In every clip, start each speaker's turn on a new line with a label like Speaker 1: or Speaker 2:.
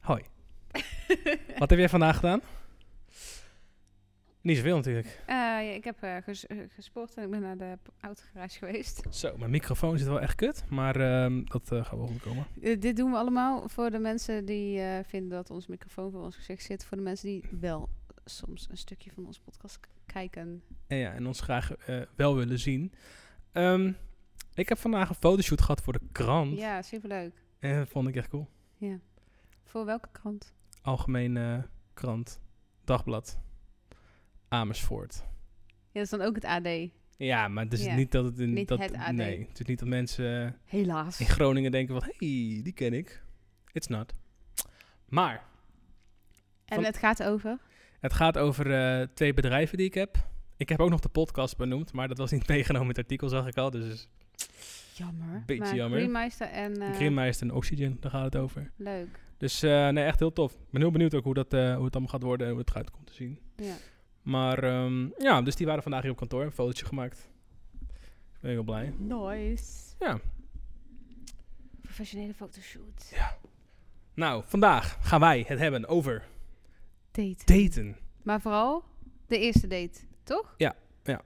Speaker 1: Wat heb jij vandaag gedaan? Niet zoveel natuurlijk.
Speaker 2: Eh, ja, ik heb eh, ges- eh, gesport en ik ben naar de p- autogarage geweest.
Speaker 1: Zo, mijn microfoon zit wel echt kut, maar ehm, dat eh, gaat wel goed komen.
Speaker 2: Eh, dit doen we allemaal voor de mensen die eh, vinden dat ons microfoon voor ons gezicht zit. Voor de mensen die wel soms een stukje van onze podcast k- kijken.
Speaker 1: En ja, en ons graag eh, wel willen zien. Ehm, ik heb vandaag een fotoshoot gehad voor de krant.
Speaker 2: Ja, superleuk.
Speaker 1: En dat vond ik echt cool.
Speaker 2: Ja. Voor welke krant?
Speaker 1: Algemene eh, krant, dagblad, Amersfoort.
Speaker 2: Ja, dat is dan ook het AD.
Speaker 1: Ja, maar het is
Speaker 2: Ja,
Speaker 1: niet dat het in
Speaker 2: niet
Speaker 1: dat,
Speaker 2: het AD.
Speaker 1: Nee, het is niet dat mensen
Speaker 2: Helaas.
Speaker 1: in Groningen denken van, hey, die ken ik. It's not. Maar
Speaker 2: En
Speaker 1: van-
Speaker 2: het gaat over?
Speaker 1: het gaat over eh, twee bedrijven die ik heb. Ik heb ook nog de podcast benoemd, maar dat was niet meegenomen in het artikel, zag ik al. Dus
Speaker 2: Jammer.
Speaker 1: Beetje
Speaker 2: maar
Speaker 1: jammer.
Speaker 2: Greenmeister en... eh,
Speaker 1: Greenmeister en Oxygen, daar gaat het over.
Speaker 2: Leuk.
Speaker 1: Dus eh, nee, echt heel tof. Ik ben heel benieuwd ook hoe, dat, eh, hoe het allemaal gaat worden en hoe het eruit komt te zien.
Speaker 2: Ja.
Speaker 1: Maar ehm, ja, dus die waren vandaag hier op kantoor, een fotootje gemaakt. Ik ben heel blij.
Speaker 2: Nice.
Speaker 1: Ja.
Speaker 2: Professionele fotoshoot.
Speaker 1: Nou, vandaag gaan wij het hebben over
Speaker 2: Daten.
Speaker 1: daten.
Speaker 2: Maar vooral de eerste date, toch?
Speaker 1: Ja, ja,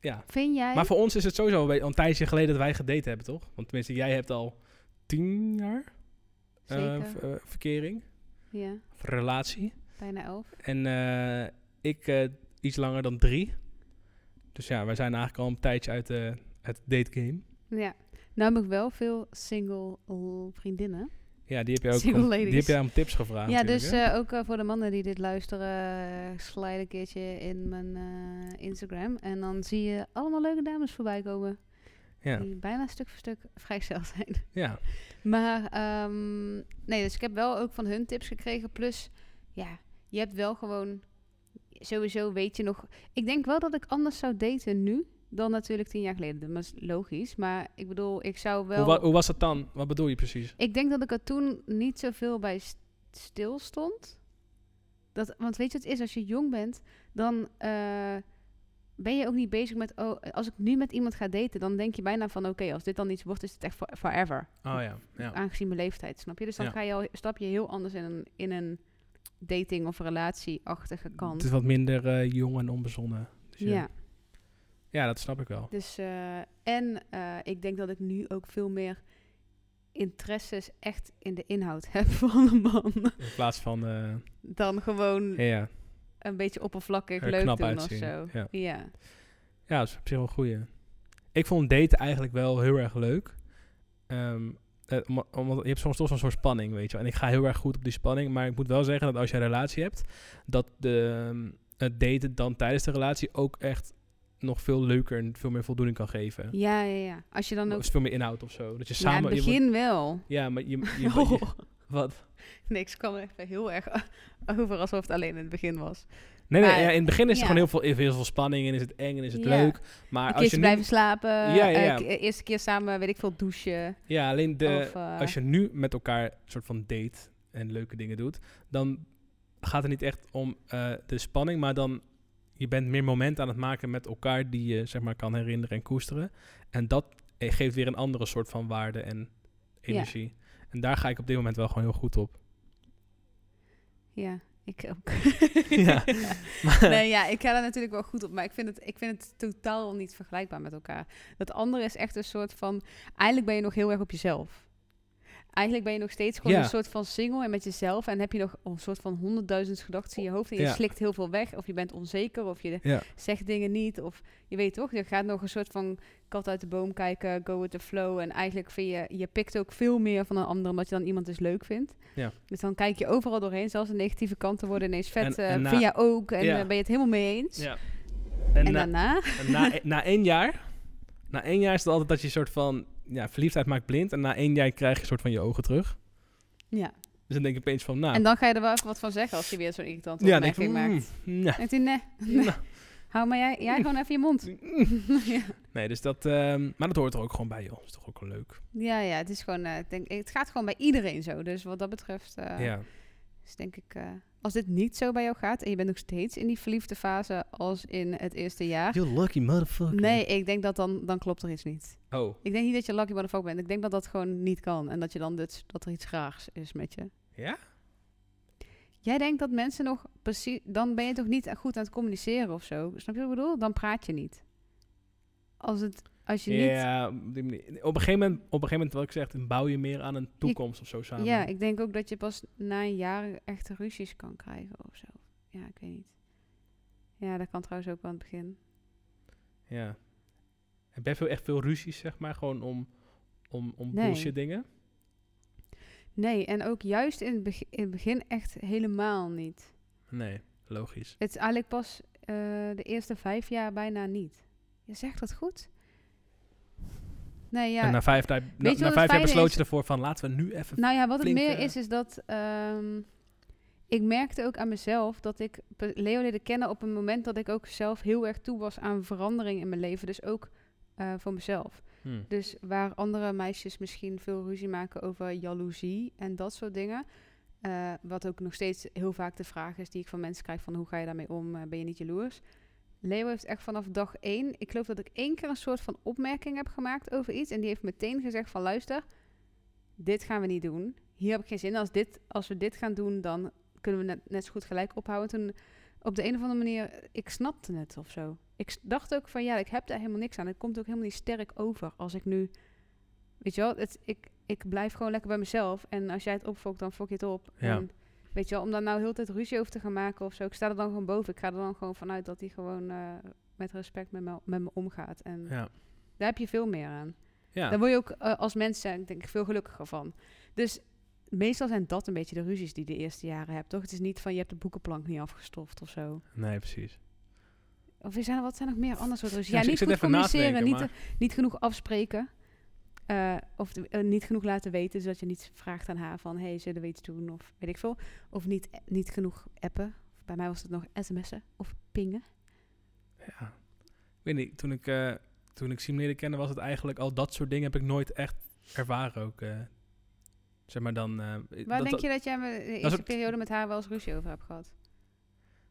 Speaker 1: ja.
Speaker 2: Vind jij?
Speaker 1: Maar voor ons is het sowieso al een tijdje geleden dat wij gedate hebben, toch? Want tenminste, jij hebt al tien jaar eh,
Speaker 2: Zeker.
Speaker 1: v- eh, verkering,
Speaker 2: ja,
Speaker 1: of relatie.
Speaker 2: bijna elf.
Speaker 1: En eh, ik eh, iets langer dan drie. Dus ja, wij zijn eigenlijk al een tijdje uit de het date game.
Speaker 2: Ja. Nou heb ik wel veel single l- vriendinnen.
Speaker 1: Ja, die heb je ook
Speaker 2: Single
Speaker 1: om,
Speaker 2: ladies.
Speaker 1: die heb jij om tips gevraagd.
Speaker 2: ja,
Speaker 1: natuurlijk,
Speaker 2: dus
Speaker 1: hè?
Speaker 2: eh, ook eh, voor de mannen die dit luisteren, eh slide een keertje in mijn eh, Instagram. En dan zie je allemaal leuke dames voorbij komen.
Speaker 1: ja,
Speaker 2: eh, Die bijna stuk voor stuk vrijgezel zijn.
Speaker 1: ja.
Speaker 2: Maar ehm, nee, dus ik heb wel ook van hun tips gekregen. Plus, ja, je hebt wel gewoon. Sowieso weet je nog. Ik denk wel dat ik anders zou daten nu dan natuurlijk tien jaar geleden. Dat is logisch. Maar ik bedoel, ik zou wel.
Speaker 1: Hoe, wa- hoe was dat dan? Wat bedoel je precies?
Speaker 2: Ik denk dat ik er toen niet zoveel bij st- stil stond. Dat, want weet je wat het is? Als je jong bent, dan eh, ben je ook niet bezig met... Oh, als ik nu met iemand ga daten, dan denk je bijna van... Oké, als dit dan iets wordt, is het echt for- forever
Speaker 1: Oh ja, ja.
Speaker 2: aangezien mijn leeftijd, snap je? Dus dan
Speaker 1: Ja.
Speaker 2: ga je al, stap je heel anders in een, in een dating- of relatieachtige
Speaker 1: Het
Speaker 2: kant.
Speaker 1: is wat minder eh, jong en onbezonnen. Dus ja.
Speaker 2: Ja,
Speaker 1: ja, dat snap ik wel.
Speaker 2: dus eh, en eh, ik denk dat ik nu ook veel meer interesses echt in de inhoud heb van een man.
Speaker 1: In plaats van, eh,
Speaker 2: Dan gewoon
Speaker 1: ja, ja,
Speaker 2: een beetje oppervlakkig
Speaker 1: er
Speaker 2: leuk
Speaker 1: knap
Speaker 2: doen
Speaker 1: uitzien.
Speaker 2: of zo.
Speaker 1: Ja.
Speaker 2: Ja.
Speaker 1: Ja, dat is op zich wel een goeie. Ik vond daten eigenlijk wel heel erg leuk. Ehm, eh, om- omdat je hebt soms toch zo'n soort spanning, weet je wel. En ik ga heel erg goed op die spanning. Maar ik moet wel zeggen dat als je een relatie hebt... dat de, ehm, het daten dan tijdens de relatie ook echt nog veel leuker... en veel meer voldoening kan geven.
Speaker 2: ja, ja, ja. Als je dan
Speaker 1: Er
Speaker 2: ook...
Speaker 1: is veel meer inhoud of zo. Dat je
Speaker 2: Ja, in
Speaker 1: Oh, samen...
Speaker 2: het
Speaker 1: je moet-
Speaker 2: begin wel.
Speaker 1: ja maar je... je, je-
Speaker 2: Oh,
Speaker 1: wat?
Speaker 2: niks kwam er echt heel erg over alsof het alleen in het begin was.
Speaker 1: Nee, nee,
Speaker 2: Maar-
Speaker 1: ja, in het begin is er
Speaker 2: ja.
Speaker 1: gewoon heel veel, heel veel spanning... en is het eng en is het
Speaker 2: Ja.
Speaker 1: leuk. Maar
Speaker 2: Een
Speaker 1: als je
Speaker 2: keertje
Speaker 1: nu-
Speaker 2: blijven slapen.
Speaker 1: Ja, ja,
Speaker 2: eh,
Speaker 1: ja.
Speaker 2: k- eh, eerste keer samen, weet ik veel, douchen.
Speaker 1: Ja, alleen de...
Speaker 2: of, eh,
Speaker 1: als je nu met elkaar een soort van date en leuke dingen doet, dan gaat het niet echt om eh, de spanning, maar dan je bent meer momenten aan het maken met elkaar die je zeg maar kan herinneren en koesteren. En dat eh, geeft weer een andere soort van waarde en energie. En daar ga ik op dit moment wel gewoon heel goed op.
Speaker 2: Ja, ik ook.
Speaker 1: Ja.
Speaker 2: nee, ja, ik ga daar natuurlijk wel goed op. Maar ik vind, het, ik vind het totaal niet vergelijkbaar met elkaar. Dat andere is echt een soort van... Eigenlijk ben je nog heel erg op jezelf. Eigenlijk ben je nog steeds gewoon
Speaker 1: Ja.
Speaker 2: een soort van single en met jezelf. En heb je nog een soort van honderdduizend gedachten in je hoofd. En je
Speaker 1: Ja.
Speaker 2: slikt heel veel weg. Of je bent onzeker. Of je
Speaker 1: Ja.
Speaker 2: zegt dingen niet. Of je weet toch, je gaat nog een soort van kat uit de boom kijken. Go with the flow. En eigenlijk vind je... Je pikt ook veel meer van een ander omdat je dan iemand dus leuk vindt. Dus dan kijk je overal doorheen. Zelfs de negatieve kanten worden ineens vet.
Speaker 1: En-
Speaker 2: eh
Speaker 1: en na-
Speaker 2: vind jij ook? En
Speaker 1: Ja.
Speaker 2: eh, ben je het helemaal mee eens?
Speaker 1: En,
Speaker 2: En
Speaker 1: na,
Speaker 2: daarna?
Speaker 1: na, e-, na één jaar, na één jaar is het altijd dat je een soort van ja, verliefdheid maakt blind. En na één jaar krijg je een soort van je ogen terug.
Speaker 2: Ja.
Speaker 1: Dus dan denk je opeens van, nou,
Speaker 2: En dan ga je er wel even wat van zeggen als je weer zo'n irritante
Speaker 1: ja, dan denk ik
Speaker 2: opmerking
Speaker 1: van,
Speaker 2: maakt.
Speaker 1: mm, Mm. nou,
Speaker 2: En denkt hij, nee.
Speaker 1: nou,
Speaker 2: Hou maar jij, jij gewoon even je mond. ja.
Speaker 1: Nee, dus dat... ehm, maar dat hoort er ook gewoon bij, joh. is toch ook wel leuk.
Speaker 2: ja, ja, het is gewoon... eh, ik denk, het gaat gewoon bij iedereen zo. Dus wat dat betreft eh,
Speaker 1: ja.
Speaker 2: is denk ik... eh, als dit niet zo bij jou gaat en je bent nog steeds in die verliefde fase als in het eerste jaar...
Speaker 1: Ah. You lucky motherfucker.
Speaker 2: Nee, ik denk dat dan, dan klopt er iets niet.
Speaker 1: Oh,
Speaker 2: Ik denk niet dat je lucky motherfucker bent. Ik denk dat dat gewoon niet kan. En dat je dan dus, dat er iets graags is met je.
Speaker 1: Ja?
Speaker 2: Jij denkt dat mensen nog precies... Dan ben je toch niet goed aan het communiceren of zo? Snap je wat ik bedoel? Dan praat je niet. Als, het, als je niet...
Speaker 1: Ja, op, die manier. op een gegeven moment, op een gegeven moment wat ik zeg, dan bouw je meer aan een toekomst of zo samen.
Speaker 2: Ja, ik denk ook dat je pas na een jaar echt ruzies kan krijgen of zo. Ja, ik weet niet. Ja, dat kan trouwens ook wel aan het begin.
Speaker 1: Ja. Heb jij veel, echt veel ruzies, zeg maar, gewoon om, om, om
Speaker 2: Nee.
Speaker 1: bullshit dingen?
Speaker 2: Nee, en ook juist in het, beg- in het begin echt helemaal niet.
Speaker 1: Nee, logisch.
Speaker 2: Het is eigenlijk pas eh, de eerste vijf jaar bijna niet. Je zegt dat goed? Nee, ja.
Speaker 1: En na vijf, na, na
Speaker 2: wat het
Speaker 1: vijf jaar
Speaker 2: fijne
Speaker 1: besloot
Speaker 2: is?
Speaker 1: je ervoor van laten we nu even...
Speaker 2: Nou ja, wat het
Speaker 1: flink,
Speaker 2: meer
Speaker 1: eh,
Speaker 2: is, is dat ehm, ik merkte ook aan mezelf dat ik pe- Leo leerde kennen op een moment dat ik ook zelf heel erg toe was aan verandering in mijn leven. Dus ook eh, voor mezelf.
Speaker 1: Hmm.
Speaker 2: Dus waar andere meisjes misschien veel ruzie maken over jaloezie en dat soort dingen. eh, wat ook nog steeds heel vaak de vraag is die ik van mensen krijg van hoe ga je daarmee om? Eh, Ben je niet jaloers? Leo heeft echt vanaf dag één, ik geloof dat ik één keer een soort van opmerking heb gemaakt over iets. En die heeft meteen gezegd van luister, dit gaan we niet doen. Hier heb ik geen zin in. Als, dit, als we dit gaan doen, dan kunnen we net, net zo goed gelijk ophouden. Toen op de een of andere manier, ik snapte het of zo. Ik s- dacht ook van ja, ik heb daar helemaal niks aan. Het komt ook helemaal niet sterk over als ik nu... Weet je wel, het, ik, ik blijf gewoon lekker bij mezelf. En als jij het opfokt, dan fok je het op.
Speaker 1: Ja.
Speaker 2: En, weet je wel, om daar nou heel de tijd ruzie over te gaan maken of zo. Ik sta er dan gewoon boven. Ik ga er dan gewoon vanuit dat hij gewoon eh, met respect met me, met me omgaat. En
Speaker 1: Ja.
Speaker 2: daar heb je veel meer aan.
Speaker 1: Ja.
Speaker 2: Daar word je ook eh, als mens, zijn, denk ik, veel gelukkiger van. Dus meestal zijn dat een beetje de ruzies die je de eerste jaren hebt, toch? Het is niet van je hebt de boekenplank niet afgestoft of zo.
Speaker 1: Nee, precies.
Speaker 2: Of zijn er, wat zijn nog meer andere soorten ruzies?
Speaker 1: Ja, dus
Speaker 2: Ja,
Speaker 1: ik zit
Speaker 2: niet goed
Speaker 1: even na te
Speaker 2: communiceren,
Speaker 1: denken,
Speaker 2: niet, niet genoeg afspreken. eh, of de- eh, niet genoeg laten weten, zodat je niet vraagt aan haar van... hey, zullen we iets doen? Of weet ik veel. Of niet, eh, niet genoeg appen. Bij mij was het nog sms'en of pingen.
Speaker 1: Ja. Ik weet niet, toen ik, eh toen ik Sim leerde kennen was het eigenlijk al dat soort dingen heb ik nooit echt ervaren ook. eh. zeg maar dan... eh,
Speaker 2: Waar
Speaker 1: dat-
Speaker 2: denk
Speaker 1: dat-
Speaker 2: je dat jij me de
Speaker 1: is
Speaker 2: eerste
Speaker 1: ook-
Speaker 2: periode met haar wel eens ruzie over hebt gehad?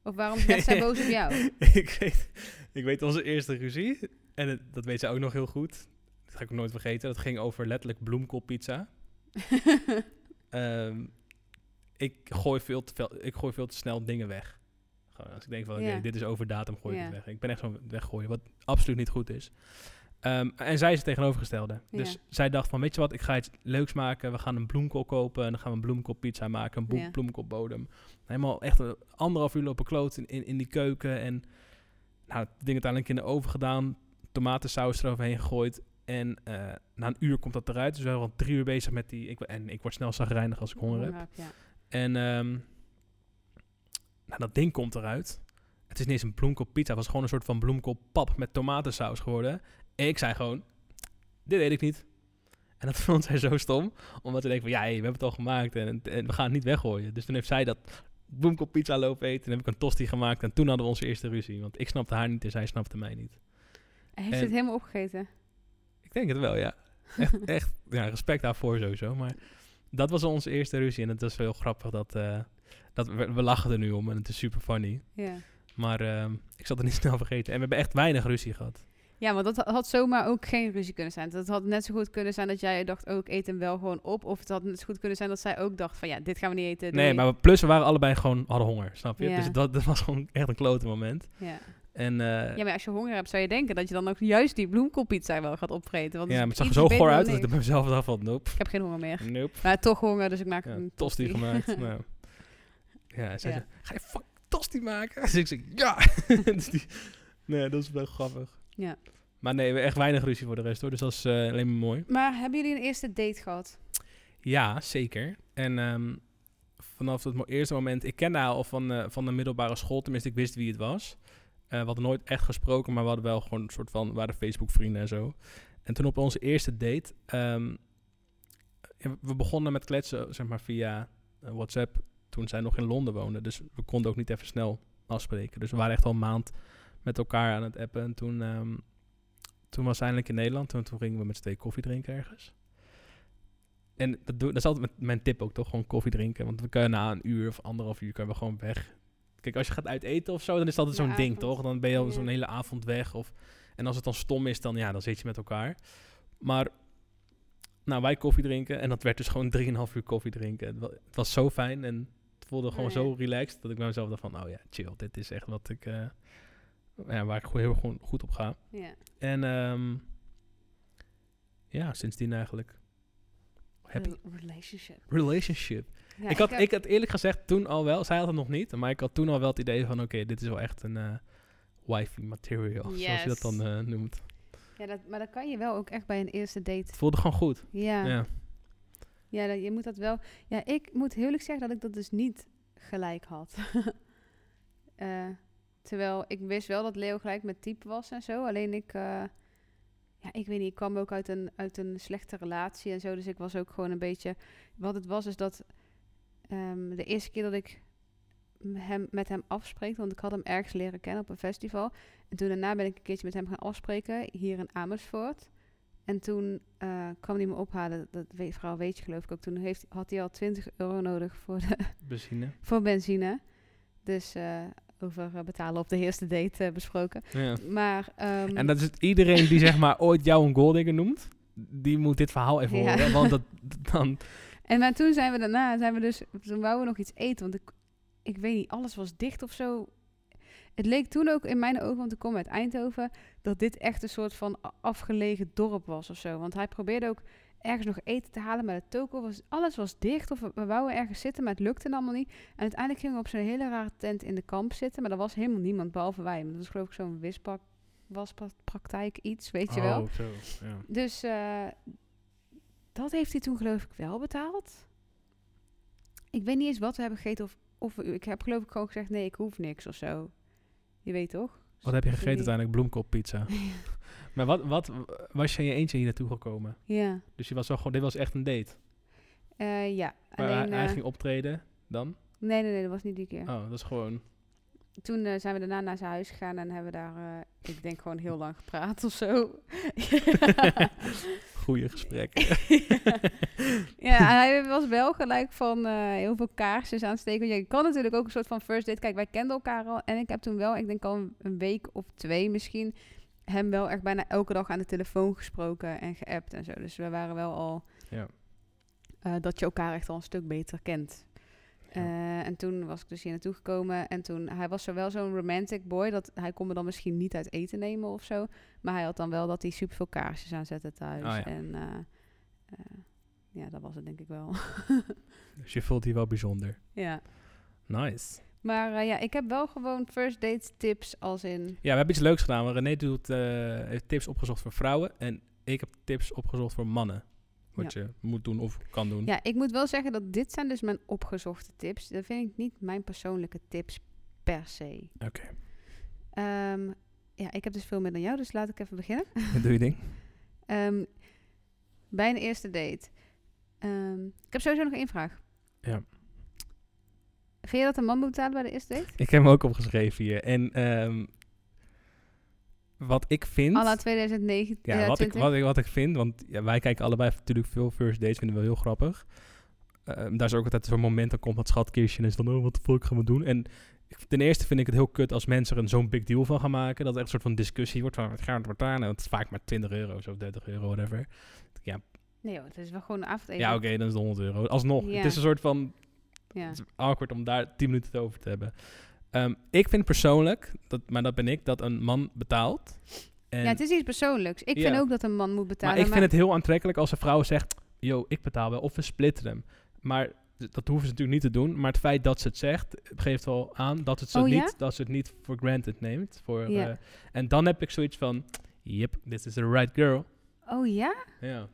Speaker 2: Of waarom werd zij boos op jou?
Speaker 1: ik, weet, ik weet onze eerste ruzie. En het- dat weet zij ook nog heel goed. Dat ga ik ook nooit vergeten. Dat ging over letterlijk bloemkoolpizza. Ehm, ik, gooi veel te veel, ik gooi veel te snel dingen weg. Gewoon als ik denk van, oké,
Speaker 2: Ja.
Speaker 1: dit is over datum, gooi ik
Speaker 2: Ja.
Speaker 1: het weg. Ik ben echt zo'n weggooien, wat absoluut niet goed is. Ehm, en zij is het tegenovergestelde. Dus
Speaker 2: Ja.
Speaker 1: zij dacht van, weet je wat, ik ga iets leuks maken. We gaan een bloemkool kopen en dan gaan we een bloemkoolpizza maken, een boem-
Speaker 2: Ja.
Speaker 1: bloemkoolbodem. Helemaal echt een anderhalf uur lopen kloot in, in, in die keuken. En nou, het ding uiteindelijk in de oven gedaan. Tomatensaus eroverheen gegooid. En eh, na een uur komt dat eruit. Dus we zijn al drie uur bezig met die... Ik, en ik word snel zagrijnig als ik honger heb.
Speaker 2: Ja.
Speaker 1: En ehm, nou, dat ding komt eruit. Het is niet eens een bloemkoolpizza. Het was gewoon een soort van bloemkoolpap met tomatensaus geworden. En ik zei gewoon, dit weet ik niet. En dat vond zij zo stom. Omdat ze denkt van, ja, hey, we hebben het al gemaakt en, en we gaan het niet weggooien. Dus toen heeft zij dat bloemkoolpizza lopen eten. En heb ik een tosti gemaakt. En toen hadden we onze eerste ruzie. Want ik snapte haar niet en zij snapte mij niet.
Speaker 2: Hij heeft
Speaker 1: En-
Speaker 2: het helemaal opgegeten.
Speaker 1: Ik denk het wel, ja. Echt, echt ja, respect daarvoor sowieso. Maar dat was onze eerste ruzie. En het was heel grappig dat, eh, dat we, we lachen er nu om. En het is super funny.
Speaker 2: Ja.
Speaker 1: Maar ehm, ik zal het niet snel vergeten. En we hebben echt weinig ruzie gehad.
Speaker 2: ja, want dat had zomaar ook geen ruzie kunnen zijn. Dat had net zo goed kunnen zijn dat jij dacht, ook eet hem wel gewoon op. Of het had net zo goed kunnen zijn dat zij ook dacht van, ja, dit gaan we niet eten. doei.
Speaker 1: Nee, maar we- plus we waren allebei gewoon hadden honger, snap je?
Speaker 2: Eh, Ja.
Speaker 1: Dus dat, dat was gewoon echt een klote moment.
Speaker 2: Ja.
Speaker 1: En eh,
Speaker 2: ja, maar als je honger hebt, zou je denken dat je dan ook juist die bloemkoolpizza wel gaat opvreten. Want
Speaker 1: ja, maar het zag er
Speaker 2: iets
Speaker 1: zo
Speaker 2: beter
Speaker 1: goor
Speaker 2: dan
Speaker 1: uit dat ik er
Speaker 2: niks.
Speaker 1: bij mezelf dacht van, nope,
Speaker 2: Ik heb geen honger meer.
Speaker 1: nope.
Speaker 2: Maar toch honger, dus ik maak
Speaker 1: Ja,
Speaker 2: een
Speaker 1: tosti
Speaker 2: tosti.
Speaker 1: gemaakt. nou. Ja, zij
Speaker 2: Ja.
Speaker 1: zei, ga je fuck tosti maken? Dus ik zei, ja! Dus die- nee, dat is wel grappig.
Speaker 2: Ja.
Speaker 1: Maar nee, we echt weinig ruzie voor de rest hoor. Dus dat is eh, alleen maar mooi.
Speaker 2: Maar hebben jullie een eerste date gehad?
Speaker 1: Ja, zeker. En ehm, vanaf het mo- eerste moment, ik kende haar al van, eh, van de middelbare school, tenminste, ik wist wie het was. Eh, we hadden nooit echt gesproken, maar we hadden wel gewoon een soort van, we waren Facebook vrienden en zo. En toen op onze eerste date, ehm, ja, we begonnen met kletsen, zeg maar, via eh, WhatsApp, toen zij nog in Londen woonde. Dus we konden ook niet even snel afspreken. Dus we waren echt al een maand met elkaar aan het appen. En toen, ehm, toen was ze eindelijk in Nederland, en toen gingen we met z'n tweeën koffie drinken ergens. En dat, doe, dat is altijd mijn- mijn tip ook, toch? Gewoon koffie drinken. Want we kunnen na een uur of anderhalf uur kunnen we gewoon weg. Kijk, als je gaat uit eten of zo, dan is dat altijd
Speaker 2: De
Speaker 1: zo'n ding,
Speaker 2: avond.
Speaker 1: toch? Dan ben je al
Speaker 2: Ja.
Speaker 1: zo'n hele avond weg. Of, en als het dan stom is, dan, ja, dan zit je met elkaar. Maar, nou, wij koffie drinken. En dat werd dus gewoon drieënhalf uur koffie drinken. Het wa- het was zo fijn. En het voelde gewoon
Speaker 2: Nee.
Speaker 1: zo relaxed dat ik bij mezelf dacht van, oh ja, chill, dit is echt wat ik, eh, ja, waar ik gewoon heel gewoon goed op ga.
Speaker 2: Ja.
Speaker 1: En ehm, ja, sindsdien eigenlijk. Happy
Speaker 2: Rel- Relationship.
Speaker 1: relationship.
Speaker 2: Ja,
Speaker 1: ik, had,
Speaker 2: heb-
Speaker 1: ik had eerlijk gezegd toen al wel, zij had het nog niet, maar ik had toen al wel het idee van, oké, dit is wel echt een eh wifey material, zoals je dat
Speaker 2: Yes.
Speaker 1: dan eh, noemt.
Speaker 2: ja, dat, maar dat kan je wel ook echt bij een eerste date.
Speaker 1: Het voelde gewoon goed.
Speaker 2: Ja, ja.
Speaker 1: Ja.
Speaker 2: dat, je moet dat wel. Ja, ik moet heel eerlijk zeggen dat ik dat dus niet gelijk had. Eh, terwijl ik wist wel dat Leo gelijk met type was en zo. Alleen ik, eh, ja, ik weet niet, ik kwam ook uit een, uit een slechte relatie en zo. Dus ik was ook gewoon een beetje. Wat het was is dat ehm, de eerste keer dat ik m- hem, met hem afspreek, want ik had hem ergens leren kennen op een festival. En toen daarna ben ik een keertje met hem gaan afspreken hier in Amersfoort. En toen eh, kwam hij me ophalen, dat weet, verhaal weet je geloof ik ook. Toen heeft, had hij al 20 euro nodig voor, de,
Speaker 1: Benzine.
Speaker 2: voor benzine. Dus eh, over eh, betalen op de eerste date eh, besproken.
Speaker 1: Ja.
Speaker 2: Maar, ehm,
Speaker 1: En dat is het, iedereen die zeg maar ooit jou een golddigger noemt, die moet dit verhaal even
Speaker 2: Ja.
Speaker 1: horen. Want dat, dan,
Speaker 2: en maar toen zijn we daarna, zijn we dus, toen wouden we nog iets eten. Want ik, ik weet niet, alles was dicht of zo. Het leek toen ook in mijn ogen, want ik kom uit Eindhoven, dat dit echt een soort van a- afgelegen dorp was of zo. Want hij probeerde ook ergens nog eten te halen, maar de toko was, alles was dicht. Of we, we wouden ergens zitten, maar het lukte allemaal niet. En uiteindelijk gingen we op zo'n hele rare tent in de kamp zitten, maar er was helemaal niemand behalve wij. Want dat was geloof ik zo'n wispak, waspraktijk iets, weet je wel.
Speaker 1: Oh, zo, ja.
Speaker 2: Dus eh, dat heeft hij toen geloof ik wel betaald. Ik weet niet eens wat we hebben gegeten. Of, of we- ik heb geloof ik gewoon gezegd, nee, ik hoef niks of zo. Je weet toch?
Speaker 1: Wat heb je gegeten
Speaker 2: Sorry.
Speaker 1: uiteindelijk? Bloemkoolpizza. maar wat, wat was je in je eentje hier naartoe gekomen?
Speaker 2: Ja.
Speaker 1: Dus je was wel gewoon, dit was echt een date.
Speaker 2: Eh, ja,
Speaker 1: Maar
Speaker 2: alleen...
Speaker 1: hij, hij
Speaker 2: eh,
Speaker 1: ging optreden dan?
Speaker 2: Nee, nee, nee, dat was niet die keer.
Speaker 1: Oh, dat is gewoon...
Speaker 2: Toen eh, zijn we daarna naar zijn huis gegaan en hebben we daar, eh, ik denk gewoon heel lang gepraat of zo.
Speaker 1: Goede gesprekken.
Speaker 2: ja, en hij was wel gelijk van eh, heel veel kaarsjes aansteken. Want Je kan natuurlijk ook een soort van first date. Kijk, wij kenden elkaar al. En ik heb toen wel, ik denk al een- een week of twee misschien, hem wel echt bijna elke dag aan de telefoon gesproken en geappt en zo. Dus we waren wel al
Speaker 1: Ja.
Speaker 2: eh, dat je elkaar echt al een stuk beter kent.
Speaker 1: Ja.
Speaker 2: Eh, en toen was ik dus hier naartoe gekomen. En toen, hij was zo wel zo'n romantic boy. Dat hij kon me dan misschien niet uit eten nemen of zo. Maar hij had dan wel dat hij super veel kaarsjes aanzette thuis.
Speaker 1: Ah, ja.
Speaker 2: En eh, eh, ja, dat was het denk ik wel.
Speaker 1: dus je voelt hier wel bijzonder.
Speaker 2: ja.
Speaker 1: Nice.
Speaker 2: Maar eh, ja, ik heb wel gewoon first date tips als in...
Speaker 1: Ja, we hebben iets leuks gedaan. want René doet, eh, heeft tips opgezocht voor vrouwen. En ik heb tips opgezocht voor mannen. Wat je moet doen of kan doen.
Speaker 2: Ja, ik moet wel zeggen dat dit zijn dus mijn opgezochte tips. Dat vind ik niet mijn persoonlijke tips per se.
Speaker 1: Oké.
Speaker 2: Ehm, ja, ik heb dus veel meer dan jou, dus laat ik even beginnen.
Speaker 1: Doe je ding.
Speaker 2: Ehm, bij een eerste date. Ehm, ik heb sowieso nog één vraag.
Speaker 1: Ja.
Speaker 2: Vind je dat een man moet betalen bij de eerste date?
Speaker 1: Ik heb hem ook opgeschreven hier. En ehm, wat ik vind...
Speaker 2: Alla 2019.
Speaker 1: Ja, wat, ik, wat, ik, wat ik vind, want ja, wij kijken allebei natuurlijk veel first dates, vinden we heel grappig. Ehm, daar is ook altijd zo'n moment, dan komt dat schatkistje en is dan, oh, wat de fuck gaan we doen? En ik- ten eerste vind ik het heel kut als mensen er een- zo'n big deal van gaan maken, dat er echt een soort van discussie wordt van, het gaat wordt daar, nou, het is vaak maar 20 euro of zo, 30 euro, whatever.
Speaker 2: Nee hoor, het is wel gewoon een avondeten.
Speaker 1: Ja, oké, dan is het 100 euro. Alsnog,
Speaker 2: Ja.
Speaker 1: het is een soort van,
Speaker 2: Ja.
Speaker 1: het is awkward om daar 10 minuten het over te hebben. Ehm, ik vind persoonlijk, dat, maar dat ben ik, dat een man betaalt. En
Speaker 2: ja, het is iets persoonlijks. Ik
Speaker 1: Ja.
Speaker 2: vind ook dat een man moet betalen.
Speaker 1: maar ik vind het heel aantrekkelijk als een vrouw zegt... yo, ik betaal wel, of we splitten hem. Maar d- dat hoeven ze natuurlijk niet te doen. Maar het feit dat ze het zegt, geeft wel aan dat, het ze,
Speaker 2: Oh,
Speaker 1: niet,
Speaker 2: ja?
Speaker 1: dat ze het niet voor granted neemt. Voor,
Speaker 2: Ja.
Speaker 1: eh, en dan heb ik zoiets van... yep, this is the right girl.
Speaker 2: Oh ja?
Speaker 1: Ja.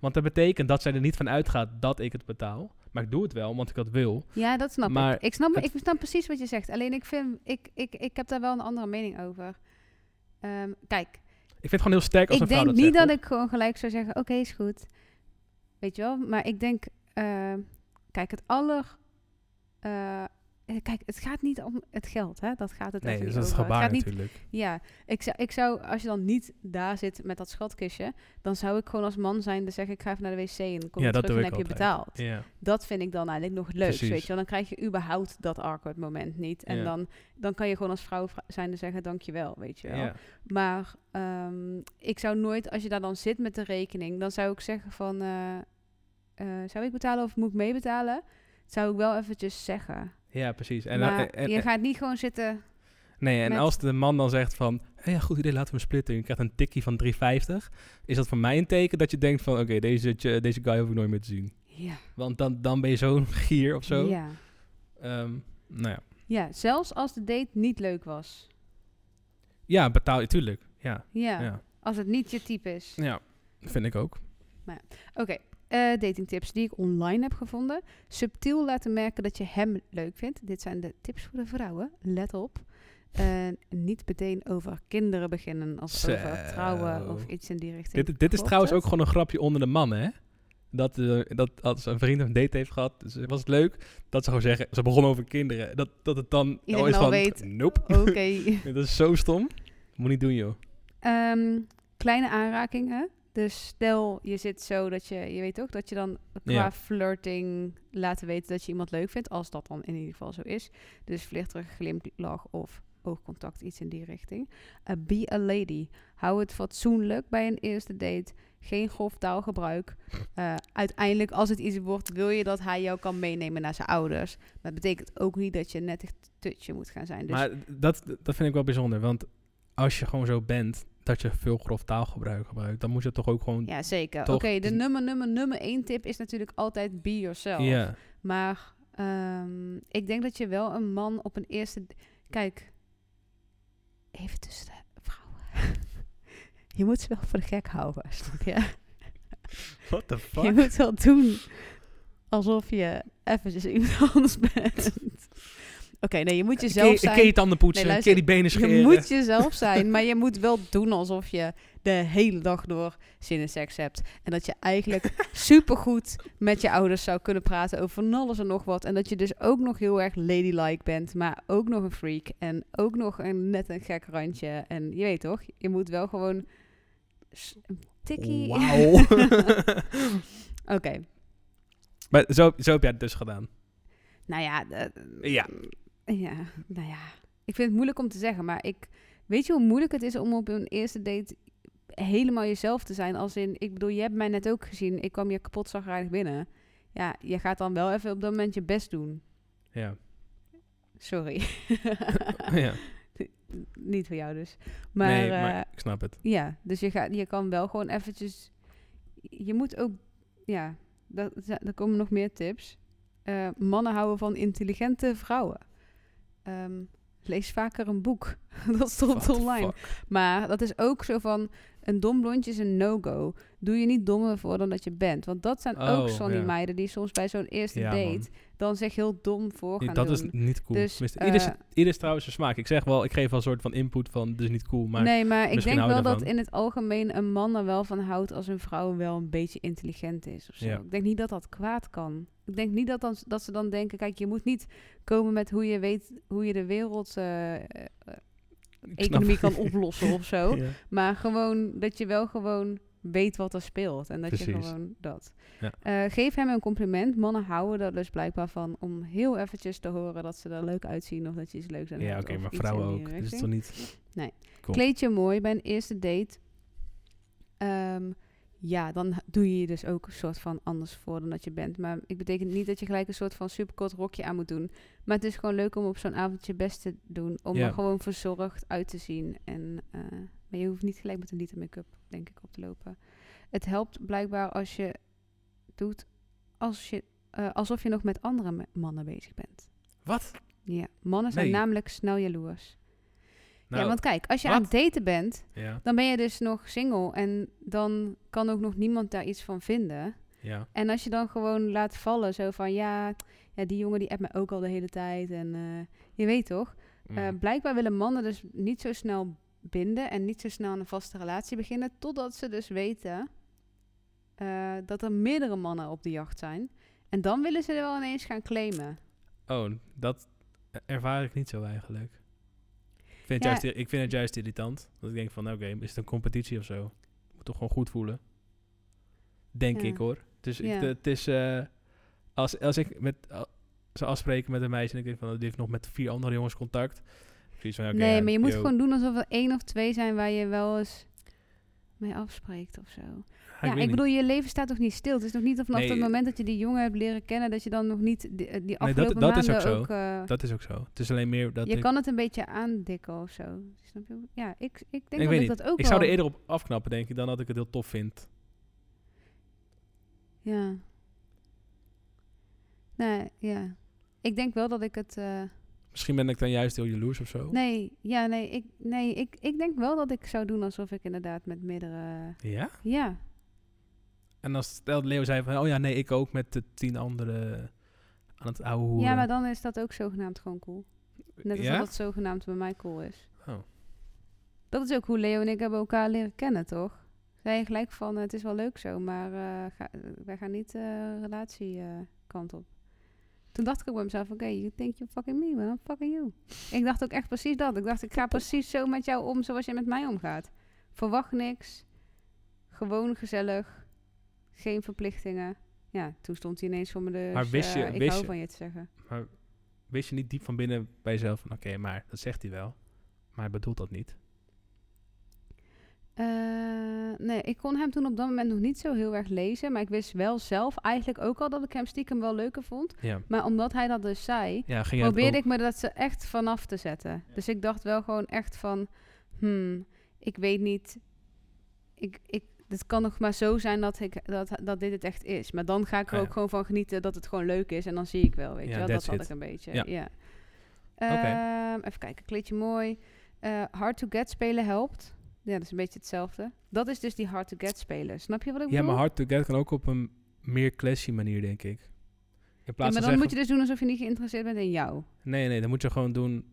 Speaker 1: Want dat betekent dat zij er niet van uitgaat dat ik het betaal. Maar ik doe het wel, want ik dat wil.
Speaker 2: Ja, dat snap
Speaker 1: Maar
Speaker 2: ik. Ik snap,
Speaker 1: het-
Speaker 2: ik snap precies wat je zegt. Alleen ik vind, ik, ik, ik heb daar wel een andere mening over. Ehm, kijk,
Speaker 1: Ik vind het gewoon heel sterk als
Speaker 2: ik
Speaker 1: een vrouw
Speaker 2: denk
Speaker 1: dat
Speaker 2: niet
Speaker 1: zegt,
Speaker 2: dat ik gewoon gelijk zou zeggen, oké, is goed. Weet je wel? Maar ik denk, ehm, kijk, het aller... eh, kijk, het gaat niet om het geld, hè? Dat gaat het
Speaker 1: hoor. Nee,
Speaker 2: even
Speaker 1: dat is het
Speaker 2: niet over. Het
Speaker 1: gebaar
Speaker 2: gaat niet
Speaker 1: natuurlijk.
Speaker 2: Ja, ik zou, ik zou, als je dan niet daar zit met dat schatkistje, dan zou ik gewoon als man zijn, dan zeg ik, ik ga even naar de wc en dan kom
Speaker 1: Ja,
Speaker 2: ik
Speaker 1: dat
Speaker 2: terug en
Speaker 1: doe
Speaker 2: heb
Speaker 1: ik
Speaker 2: je
Speaker 1: altijd.
Speaker 2: betaald.
Speaker 1: Ja.
Speaker 2: Dat vind ik dan eigenlijk nog het leukst,
Speaker 1: Precies.
Speaker 2: weet je wel. Dan krijg je überhaupt dat awkward moment niet. En
Speaker 1: Ja.
Speaker 2: dan, dan kan je gewoon als vrouw vra- zijn en zeggen, dankjewel, weet je wel.
Speaker 1: Ja.
Speaker 2: Maar ehm, ik zou nooit, als je daar dan zit met de rekening, dan zou ik zeggen van, eh, eh, zou ik betalen of moet ik meebetalen? Dat zou ik wel eventjes zeggen.
Speaker 1: Ja, precies. En, eh,
Speaker 2: maar
Speaker 1: en- en-
Speaker 2: je gaat niet gewoon zitten...
Speaker 1: nee, en
Speaker 2: met-
Speaker 1: als de man dan zegt van... "Hé, ja, goed idee, laten we splitten. Je krijgt een tikkie van 3,50. Is dat voor mij een teken dat je denkt van... Oké, deze, ch- deze guy hoef ik nooit meer te zien.
Speaker 2: Ja,
Speaker 1: Want dan, dan ben je zo'n gier of zo.
Speaker 2: Ja.
Speaker 1: Ehm, nou ja.
Speaker 2: ja, zelfs als de date niet leuk was.
Speaker 1: Ja, betaal je, tuurlijk. Ja,
Speaker 2: Ja,
Speaker 1: ja. ja.
Speaker 2: als het niet je type is.
Speaker 1: vind ik ook.
Speaker 2: Oké, eh, datingtips die ik online heb gevonden. Subtiel laten merken dat je hem leuk vindt. Dit zijn de tips voor de vrouwen. Let op. Eh, niet meteen over kinderen beginnen als
Speaker 1: Zo.
Speaker 2: over trouwen of iets in die richting.
Speaker 1: Dit, dit is
Speaker 2: Klopt
Speaker 1: trouwens
Speaker 2: het?
Speaker 1: ook gewoon een grapje onder de mannen, hè? Dat, eh, dat als een vriend een date heeft gehad, dus was het leuk dat ze gewoon zeggen, ze begonnen over kinderen. Dat, dat het dan al
Speaker 2: Iedereen
Speaker 1: is
Speaker 2: al
Speaker 1: van,
Speaker 2: weet.
Speaker 1: nope.
Speaker 2: Oké.
Speaker 1: dat is zo stom. Moet niet doen, joh.
Speaker 2: Ehm, kleine aanrakingen. Dus stel je zit zo dat je, je weet ook dat je dan qua
Speaker 1: Ja.
Speaker 2: flirting laten weten dat je iemand leuk vindt, als dat dan in ieder geval zo is. Dus vlichterige glimlach of oogcontact, iets in die richting. Eh, be a lady. Hou het fatsoenlijk bij een eerste date. Geen grof taalgebruik. Eh, uiteindelijk, als het iets wordt, wil je dat hij jou kan meenemen naar zijn ouders. Maar dat betekent ook niet dat je net echt tutje moet gaan zijn. Dus
Speaker 1: Maar dat, dat vind ik wel bijzonder, want als je gewoon zo bent dat je veel grof taalgebruik gebruikt, dan moet je toch ook gewoon...
Speaker 2: Ja, zeker. Oké,
Speaker 1: Toch? Dus-
Speaker 2: de nummer, nummer, nummer één tip is natuurlijk altijd be yourself.
Speaker 1: Ja.
Speaker 2: Maar ehm, ik denk dat je wel een man op een eerste... d- Kijk, even tussen de vrouwen. je moet ze wel voor de gek houden, snap je?
Speaker 1: What the
Speaker 2: Je moet wel doen alsof je eventjes iemand anders bent. Oké, nee, je moet jezelf
Speaker 1: Keer
Speaker 2: zijn.
Speaker 1: keer je tanden poetsen,
Speaker 2: Nee, luister,
Speaker 1: keer die benen scheren.
Speaker 2: Je moet jezelf zijn, maar je moet wel doen alsof je de hele dag door zin in seks hebt. En dat je eigenlijk supergoed met je ouders zou kunnen praten over van alles en nog wat. En dat je dus ook nog heel erg ladylike bent, maar ook nog een freak. En ook nog een, net een gek randje. En je weet toch, je moet wel gewoon s- een tikkie...
Speaker 1: Wauw.
Speaker 2: Oké,
Speaker 1: maar zo, zo heb jij het dus gedaan.
Speaker 2: nou ja... eh,
Speaker 1: Ja.
Speaker 2: Ja, nou ja. Ik vind het moeilijk om te zeggen, maar ik... Weet je hoe moeilijk het is om op een eerste date helemaal jezelf te zijn? Als in, ik bedoel, je hebt mij net ook gezien. Ik kwam je kapot zagrijnig binnen. Ja, je gaat dan wel even op dat moment je best doen.
Speaker 1: Ja.
Speaker 2: Sorry.
Speaker 1: ja.
Speaker 2: Niet voor jou dus. Ah, Maar,
Speaker 1: nee,
Speaker 2: eh,
Speaker 1: maar ik snap het.
Speaker 2: ja, dus je, gaat, je kan wel gewoon eventjes... Je moet ook... Ja, dat, dat- er komen nog meer tips. Eh, mannen houden van intelligente vrouwen. Ehm, lees vaker een boek. dat
Speaker 1: What
Speaker 2: stond
Speaker 1: the
Speaker 2: online.
Speaker 1: fuck?
Speaker 2: Maar dat is ook zo van... Een dom blondje is een no-go. Doe je niet dommer voor dan dat je bent. Want dat zijn ook
Speaker 1: Oh,
Speaker 2: van die
Speaker 1: ja.
Speaker 2: meiden die soms bij zo'n eerste
Speaker 1: Ja,
Speaker 2: date...
Speaker 1: man.
Speaker 2: dan zich heel dom voor
Speaker 1: Ja,
Speaker 2: gaan
Speaker 1: dat
Speaker 2: doen.
Speaker 1: is niet cool.
Speaker 2: Dus,
Speaker 1: Dus, ieder, is,
Speaker 2: eh,
Speaker 1: ieder is trouwens zijn smaak. Ik zeg wel, ik geef wel een soort van input van, dit is niet cool, maar
Speaker 2: nee, maar ik
Speaker 1: misschien
Speaker 2: denk
Speaker 1: hou
Speaker 2: wel
Speaker 1: je
Speaker 2: dat
Speaker 1: daarvan.
Speaker 2: in het algemeen een man er wel van houdt als een vrouw wel een beetje intelligent is. Of zo.
Speaker 1: Ja.
Speaker 2: Ik denk niet dat dat kwaad kan. Ik denk niet dat, dan, dat ze dan denken, kijk, je moet niet komen met hoe je weet hoe je de wereld eh, eh,
Speaker 1: ik snap-
Speaker 2: economie kan oplossen of zo.
Speaker 1: Ja.
Speaker 2: Maar gewoon dat je wel gewoon weet wat er speelt. En dat je
Speaker 1: Precies.
Speaker 2: gewoon dat.
Speaker 1: Ja.
Speaker 2: Eh, geef hem een compliment. Mannen houden er dus blijkbaar van om heel eventjes te horen dat ze er leuk uitzien of dat je iets leuks aan
Speaker 1: Ja,
Speaker 2: hebt
Speaker 1: oké,
Speaker 2: of
Speaker 1: maar
Speaker 2: iets in
Speaker 1: vrouwen
Speaker 2: die
Speaker 1: ook. Dus het is
Speaker 2: richting.
Speaker 1: toch niet... Top.
Speaker 2: Kleed je mooi bij een eerste date. Ehm, ja, dan h- doe je je dus ook een soort van anders voor dan dat je bent. Maar ik betekent niet dat je gelijk een soort van superkort rokje aan moet doen. Maar het is gewoon leuk om op zo'n avond je best te doen. Om
Speaker 1: Ja.
Speaker 2: er gewoon verzorgd uit te zien. En, eh, maar je hoeft niet gelijk met een liter make-up, denk ik, op te lopen. Het helpt blijkbaar als je doet als je, eh, alsof je nog met andere me- mannen bezig bent.
Speaker 1: Wat?
Speaker 2: Ja, mannen zijn
Speaker 1: Nee.
Speaker 2: namelijk snel jaloers.
Speaker 1: Nou,
Speaker 2: ja, want kijk, als je
Speaker 1: wat?
Speaker 2: aan het daten bent,
Speaker 1: ja,
Speaker 2: dan ben je dus nog single en dan kan ook nog niemand daar iets van vinden.
Speaker 1: ja.
Speaker 2: En als je dan gewoon laat vallen, zo van ja, ja die jongen die appt mij ook al de hele tijd en eh, je weet toch.
Speaker 1: Mm.
Speaker 2: Eh, blijkbaar willen mannen dus niet zo snel binden en niet zo snel aan een vaste relatie beginnen, totdat ze dus weten eh, dat er meerdere mannen op de jacht zijn. En dan willen ze er wel ineens gaan claimen.
Speaker 1: Oh, dat ervaar ik niet zo eigenlijk. Ik vind, het
Speaker 2: Ja.
Speaker 1: juist, ik vind het juist irritant. Dat ik denk van, nou, oké, is het een competitie of zo? Moet toch gewoon goed voelen? Denk
Speaker 2: Ja.
Speaker 1: ik hoor. Dus ik-
Speaker 2: Ja.
Speaker 1: het is... eh, als, als ik met, al- zou afspreken met een meisje en ik denk van, die heeft nog met vier andere jongens contact. Precies van, oké,
Speaker 2: nee,
Speaker 1: ja,
Speaker 2: maar je moet
Speaker 1: yo.
Speaker 2: gewoon doen alsof er één of twee zijn waar je wel eens mee afspreekt of zo. Ja, ik,
Speaker 1: Ah, weet niet.
Speaker 2: bedoel, je leven staat toch niet stil? Het is nog niet vanaf
Speaker 1: Nee.
Speaker 2: het moment dat je die jongen hebt leren kennen... dat je dan nog niet die, die
Speaker 1: dat-
Speaker 2: afgelopen
Speaker 1: dat is
Speaker 2: maanden
Speaker 1: ook zo.
Speaker 2: eh,
Speaker 1: Dat is ook zo. Het is alleen meer dat
Speaker 2: je
Speaker 1: ik...
Speaker 2: kan het een beetje aandikken of zo. Snap je? Ja, ik, ik denk
Speaker 1: Ik
Speaker 2: dat
Speaker 1: weet
Speaker 2: ik
Speaker 1: niet.
Speaker 2: dat ook
Speaker 1: Ik zou er
Speaker 2: wel...
Speaker 1: eerder op afknappen, denk ik, dan dat ik het heel tof vind.
Speaker 2: Ja. Nee, ja. Ik denk wel dat ik het... eh,
Speaker 1: Misschien ben ik dan juist heel jaloers of zo.
Speaker 2: nee, ja, nee, ik, nee ik, ik denk wel dat ik zou doen alsof ik inderdaad met meerdere...
Speaker 1: Ja?
Speaker 2: Ja,
Speaker 1: En dan stelt Leo zei van, oh ja, nee, ik ook met de tien anderen aan het ouwe hoeren.
Speaker 2: ja, maar dan is dat ook zogenaamd gewoon cool. Net als
Speaker 1: Ja?
Speaker 2: dat het zogenaamd bij mij cool is.
Speaker 1: Oh.
Speaker 2: Dat is ook hoe Leo en ik hebben elkaar leren kennen, toch? Zij gelijk van, eh, het is wel leuk zo, maar eh, ga- eh, wij gaan niet eh relatie eh, kant op. Toen dacht ik ook bij mezelf, oké, you think you're fucking me, but I'm fucking you. Ik dacht ook echt precies dat. Ik dacht, ik ga precies zo met jou om zoals jij met mij omgaat. Verwacht niks. Gewoon gezellig. Geen verplichtingen. Ja, toen stond hij ineens voor me dus,
Speaker 1: Maar wist je-
Speaker 2: eh, ik
Speaker 1: wist
Speaker 2: hou
Speaker 1: je-
Speaker 2: van je te zeggen.
Speaker 1: Maar wist je niet diep van binnen bij jezelf van, oké, maar dat zegt hij wel. Maar hij bedoelt dat niet.
Speaker 2: Eh, nee, ik kon hem toen op dat moment nog niet zo heel erg lezen. Maar ik wist wel zelf eigenlijk ook al dat ik hem stiekem wel leuker vond.
Speaker 1: Ja,
Speaker 2: Maar omdat hij dat dus zei,
Speaker 1: ja ging jij het
Speaker 2: probeerde
Speaker 1: ook-
Speaker 2: ik me dat ze echt vanaf te zetten. Dus ik dacht wel gewoon echt van, hmm, ik weet niet. Ik, ik, het kan nog maar zo zijn dat, ik, dat, dat dit het echt is. Maar dan ga ik er
Speaker 1: Ah, ja.
Speaker 2: ook gewoon van genieten dat het gewoon leuk is. En dan zie ik wel, weet
Speaker 1: Ja,
Speaker 2: je wel. Dat
Speaker 1: that's
Speaker 2: had
Speaker 1: it.
Speaker 2: ik een beetje,
Speaker 1: Ja.
Speaker 2: ja.
Speaker 1: Oké.
Speaker 2: Ehm, even kijken, kleedje mooi. Eh, hard to get spelen helpt. Ja, dat is een beetje hetzelfde. Dat is dus die hard to get spelen. Snap je wat ik
Speaker 1: Ja,
Speaker 2: bedoel?
Speaker 1: maar hard to get kan ook op een meer classy manier, denk ik. In
Speaker 2: Ja, maar
Speaker 1: plaats
Speaker 2: dan
Speaker 1: van zeggen,
Speaker 2: moet je dus doen alsof je niet geïnteresseerd bent in jou.
Speaker 1: nee, nee, dan moet je gewoon doen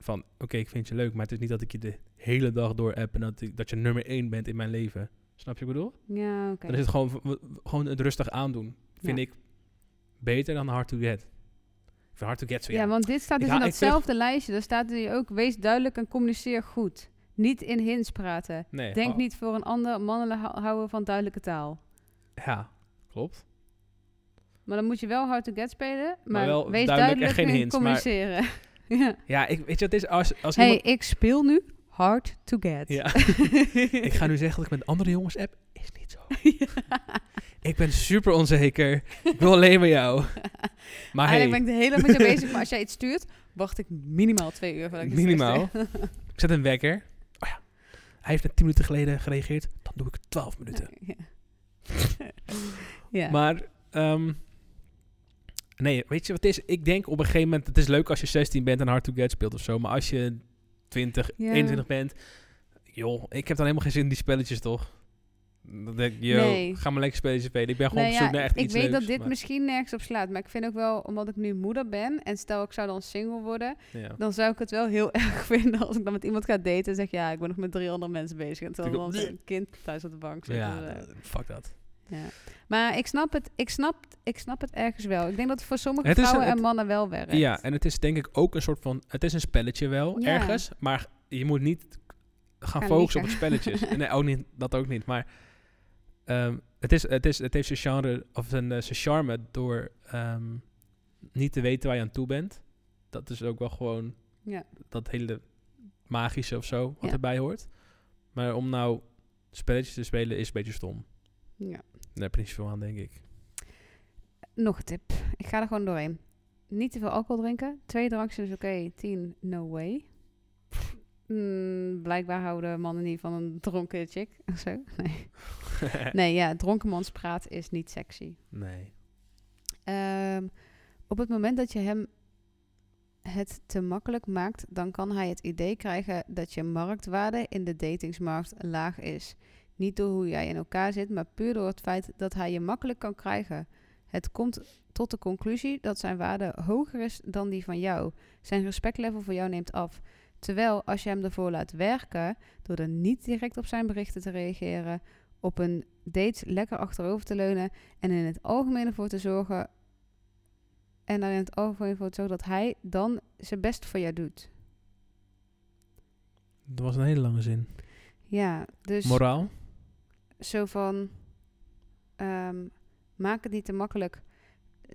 Speaker 1: van, oké, ik vind je leuk, maar het is niet dat ik je de hele dag door app en dat, ik, dat je nummer één bent in mijn leven. Snap je wat ik bedoel?
Speaker 2: Ja, oké.
Speaker 1: Dan is het gewoon, v- w- gewoon het rustig aandoen. Vind
Speaker 2: Ja.
Speaker 1: ik beter dan hard to get. Ik vind hard to get zo, ja.
Speaker 2: Ja, want dit staat
Speaker 1: Ik
Speaker 2: dus in
Speaker 1: haal- ik vind-
Speaker 2: datzelfde lijstje. Daar staat hier ook, wees duidelijk en communiceer goed. Niet in hints praten.
Speaker 1: nee,
Speaker 2: Denk
Speaker 1: oh,
Speaker 2: niet voor een ander, mannen hou- houden van duidelijke taal.
Speaker 1: Ja, klopt.
Speaker 2: Maar dan moet je wel hard to get spelen, maar,
Speaker 1: wel
Speaker 2: wees
Speaker 1: duidelijk en
Speaker 2: duidelijk,
Speaker 1: geen
Speaker 2: in
Speaker 1: hints, maar-
Speaker 2: communiceren. ja.
Speaker 1: Ja, ik, weet je wat het is? Als, als
Speaker 2: Hé, hey,
Speaker 1: iemand-
Speaker 2: ik speel nu hard to get.
Speaker 1: Ja. ik ga nu zeggen dat ik met andere jongens app, is niet zo. Ik ben super onzeker. Ik wil alleen maar jou. Maar hey,
Speaker 2: Eigenlijk Ah, ben ik de hele dag met je bezig, maar als jij iets stuurt, wacht ik minimaal twee uur. voordat ik iets
Speaker 1: Minimaal.
Speaker 2: terugstuur.
Speaker 1: ik zet een wekker. Oh ja, hij heeft net 10 minuten geleden gereageerd. Dan doe ik 12 minuten.
Speaker 2: ja. ja.
Speaker 1: Maar, ehm, nee, weet je wat het is? Ik denk op een gegeven moment, het is leuk als je 16 bent en hard to get speelt of zo. Maar als je 20,
Speaker 2: Ja.
Speaker 1: 21 bent, joh, ik heb dan helemaal geen zin in die spelletjes, toch? Dan denk ik, yo,
Speaker 2: Nee.
Speaker 1: ga maar lekker spelletjes spelen. Ik ben gewoon
Speaker 2: Nou
Speaker 1: op zoek
Speaker 2: ja,
Speaker 1: naar echt
Speaker 2: ik
Speaker 1: iets
Speaker 2: weet
Speaker 1: leuks.
Speaker 2: dat dit
Speaker 1: maar-
Speaker 2: misschien nergens op slaat, maar ik vind ook wel, omdat ik nu moeder ben en stel ik zou dan single worden,
Speaker 1: ja.
Speaker 2: dan zou ik het wel heel erg vinden als ik dan met iemand ga daten en zeg ja, ik ben nog met drie andere mensen bezig en terwijl
Speaker 1: Natuurlijk-
Speaker 2: dan een kind thuis op de bank zit.
Speaker 1: Ja,
Speaker 2: Dus, eh,
Speaker 1: eh, fuck dat.
Speaker 2: ja. Maar ik snap het, ik snap, ik snap het ergens wel. Ik denk dat het voor sommige
Speaker 1: Het is
Speaker 2: vrouwen
Speaker 1: een- het-
Speaker 2: en mannen wel werkt.
Speaker 1: Ja, en het is denk ik ook een soort van... Het is een spelletje wel,
Speaker 2: Ja.
Speaker 1: ergens. Maar je moet niet gaan
Speaker 2: Gaan
Speaker 1: focussen op
Speaker 2: liegen.
Speaker 1: het spelletje. nee, ook niet, dat ook niet. Maar ehm, het, is, het, is, het heeft zijn genre... Of zijn, eh, zijn charme door ehm, niet te weten waar je aan toe bent. Dat is ook wel gewoon...
Speaker 2: Ja.
Speaker 1: Dat hele magische of zo, wat
Speaker 2: Ja.
Speaker 1: erbij hoort. Maar om nou spelletjes te spelen is een beetje stom.
Speaker 2: Ja.
Speaker 1: Daar heb je niet zoveel aan, denk ik.
Speaker 2: Nog een tip. Ik ga er gewoon doorheen. Niet te veel alcohol drinken. Twee drankjes is oké. Tien, no way. Mm, blijkbaar houden mannen niet van een dronken chick. Of zo. Nee. nee, ja. Dronkenmanspraat is niet sexy.
Speaker 1: nee.
Speaker 2: Ehm, op het moment dat je hem het te makkelijk maakt, dan kan hij het idee krijgen dat je marktwaarde in de datingsmarkt laag is. Niet door hoe jij in elkaar zit, maar puur door het feit dat hij je makkelijk kan krijgen. Het komt tot de conclusie dat zijn waarde hoger is dan die van jou. Zijn respectlevel voor jou neemt af. Terwijl als je hem ervoor laat werken, door er niet direct op zijn berichten te reageren, op een date lekker achterover te leunen en in het algemeen ervoor te zorgen. En er in het algemeen voor te zorgen dat hij dan zijn best voor jou doet.
Speaker 1: Dat was een hele lange zin.
Speaker 2: Ja, dus
Speaker 1: Moraal?
Speaker 2: zo van. ehm, maak het niet te makkelijk.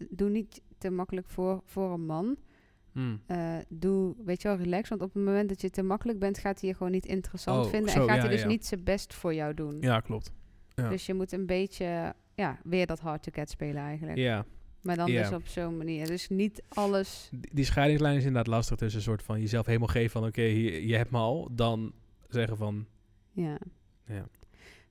Speaker 2: Doe niet te makkelijk voor, voor een man.
Speaker 1: Hmm.
Speaker 2: Eh, doe, weet je wel, relax. Want op het moment dat je te makkelijk bent, gaat hij je gewoon niet interessant
Speaker 1: Oh,
Speaker 2: vinden.
Speaker 1: zo,
Speaker 2: en gaat
Speaker 1: ja,
Speaker 2: hij dus
Speaker 1: ja.
Speaker 2: niet zijn best voor jou doen.
Speaker 1: Ja, klopt. Ja.
Speaker 2: Dus je moet een beetje, ja, weer dat hard to get spelen eigenlijk.
Speaker 1: Ja,
Speaker 2: Maar dan
Speaker 1: Ja.
Speaker 2: dus op zo'n manier. Dus niet alles.
Speaker 1: die die scheidingslijn is inderdaad lastig tussen een soort van jezelf helemaal geven van oké, hier- je hebt me al, dan zeggen van
Speaker 2: Ja.
Speaker 1: Ja.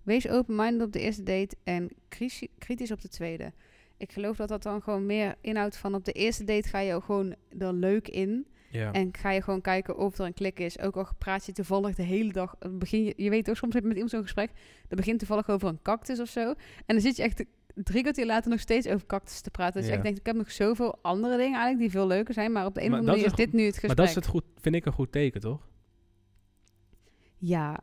Speaker 2: Wees open-minded op de eerste date en crisi- kritisch op de tweede. Ik geloof dat dat dan gewoon meer inhoudt van op de eerste date ga je ook gewoon er leuk in.
Speaker 1: ja,
Speaker 2: En ga je gewoon kijken of er een klik is. Ook al praat je toevallig de hele dag. Begin je, je weet toch soms heb je met iemand zo'n gesprek. Dat begint toevallig over een cactus of zo. En dan zit je echt drie kwartier later nog steeds over cactus te praten. Dus
Speaker 1: Ja.
Speaker 2: ik denk, ik heb nog zoveel andere dingen eigenlijk die veel leuker zijn. Maar op de een of
Speaker 1: Maar
Speaker 2: andere manier
Speaker 1: dat
Speaker 2: is
Speaker 1: is
Speaker 2: dit nu het gesprek.
Speaker 1: maar dat is het goed, vind ik een goed teken toch?
Speaker 2: Ja.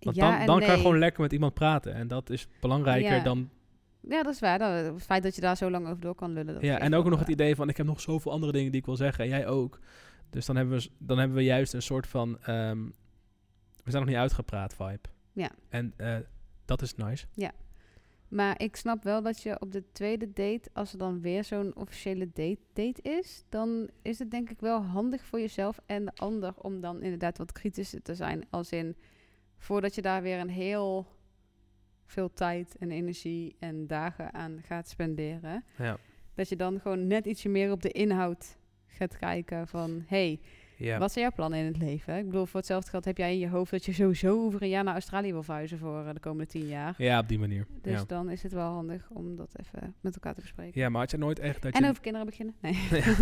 Speaker 1: Want
Speaker 2: ja
Speaker 1: dan,
Speaker 2: en
Speaker 1: dan kan
Speaker 2: nee.
Speaker 1: je gewoon lekker met iemand praten en dat is belangrijker
Speaker 2: Ja.
Speaker 1: dan
Speaker 2: Ja, dat is waar. Dat, het feit dat je daar zo lang over door kan lullen. Dat
Speaker 1: ja,
Speaker 2: is
Speaker 1: en ook
Speaker 2: wel
Speaker 1: nog het
Speaker 2: waar.
Speaker 1: idee van ik heb nog zoveel andere dingen die ik wil zeggen en jij ook. Dus dan hebben we, s- dan hebben we juist een soort van ehm, we zijn nog niet uitgepraat vibe.
Speaker 2: Ja.
Speaker 1: En eh, dat is nice.
Speaker 2: Maar ik snap wel dat je op de tweede date, als er dan weer zo'n officiële date, date is, dan is het denk ik wel handig voor jezelf en de ander om dan inderdaad wat kritischer te zijn. Als in, voordat je daar weer een heel veel tijd en energie en dagen aan gaat spenderen,
Speaker 1: Ja.
Speaker 2: dat je dan gewoon net ietsje meer op de inhoud gaat kijken van, hey,
Speaker 1: Ja.
Speaker 2: Wat zijn jouw plannen in het leven? Ik bedoel, voor hetzelfde geld heb jij in je hoofd dat je sowieso over een jaar naar Australië wil verhuizen voor eh, de komende tien jaar.
Speaker 1: Ja, op die manier.
Speaker 2: Dus
Speaker 1: ja.
Speaker 2: dan is het wel handig om dat even met elkaar te bespreken.
Speaker 1: ja, maar had je nooit echt dat
Speaker 2: En
Speaker 1: je
Speaker 2: over kinderen beginnen? Nee. Oh.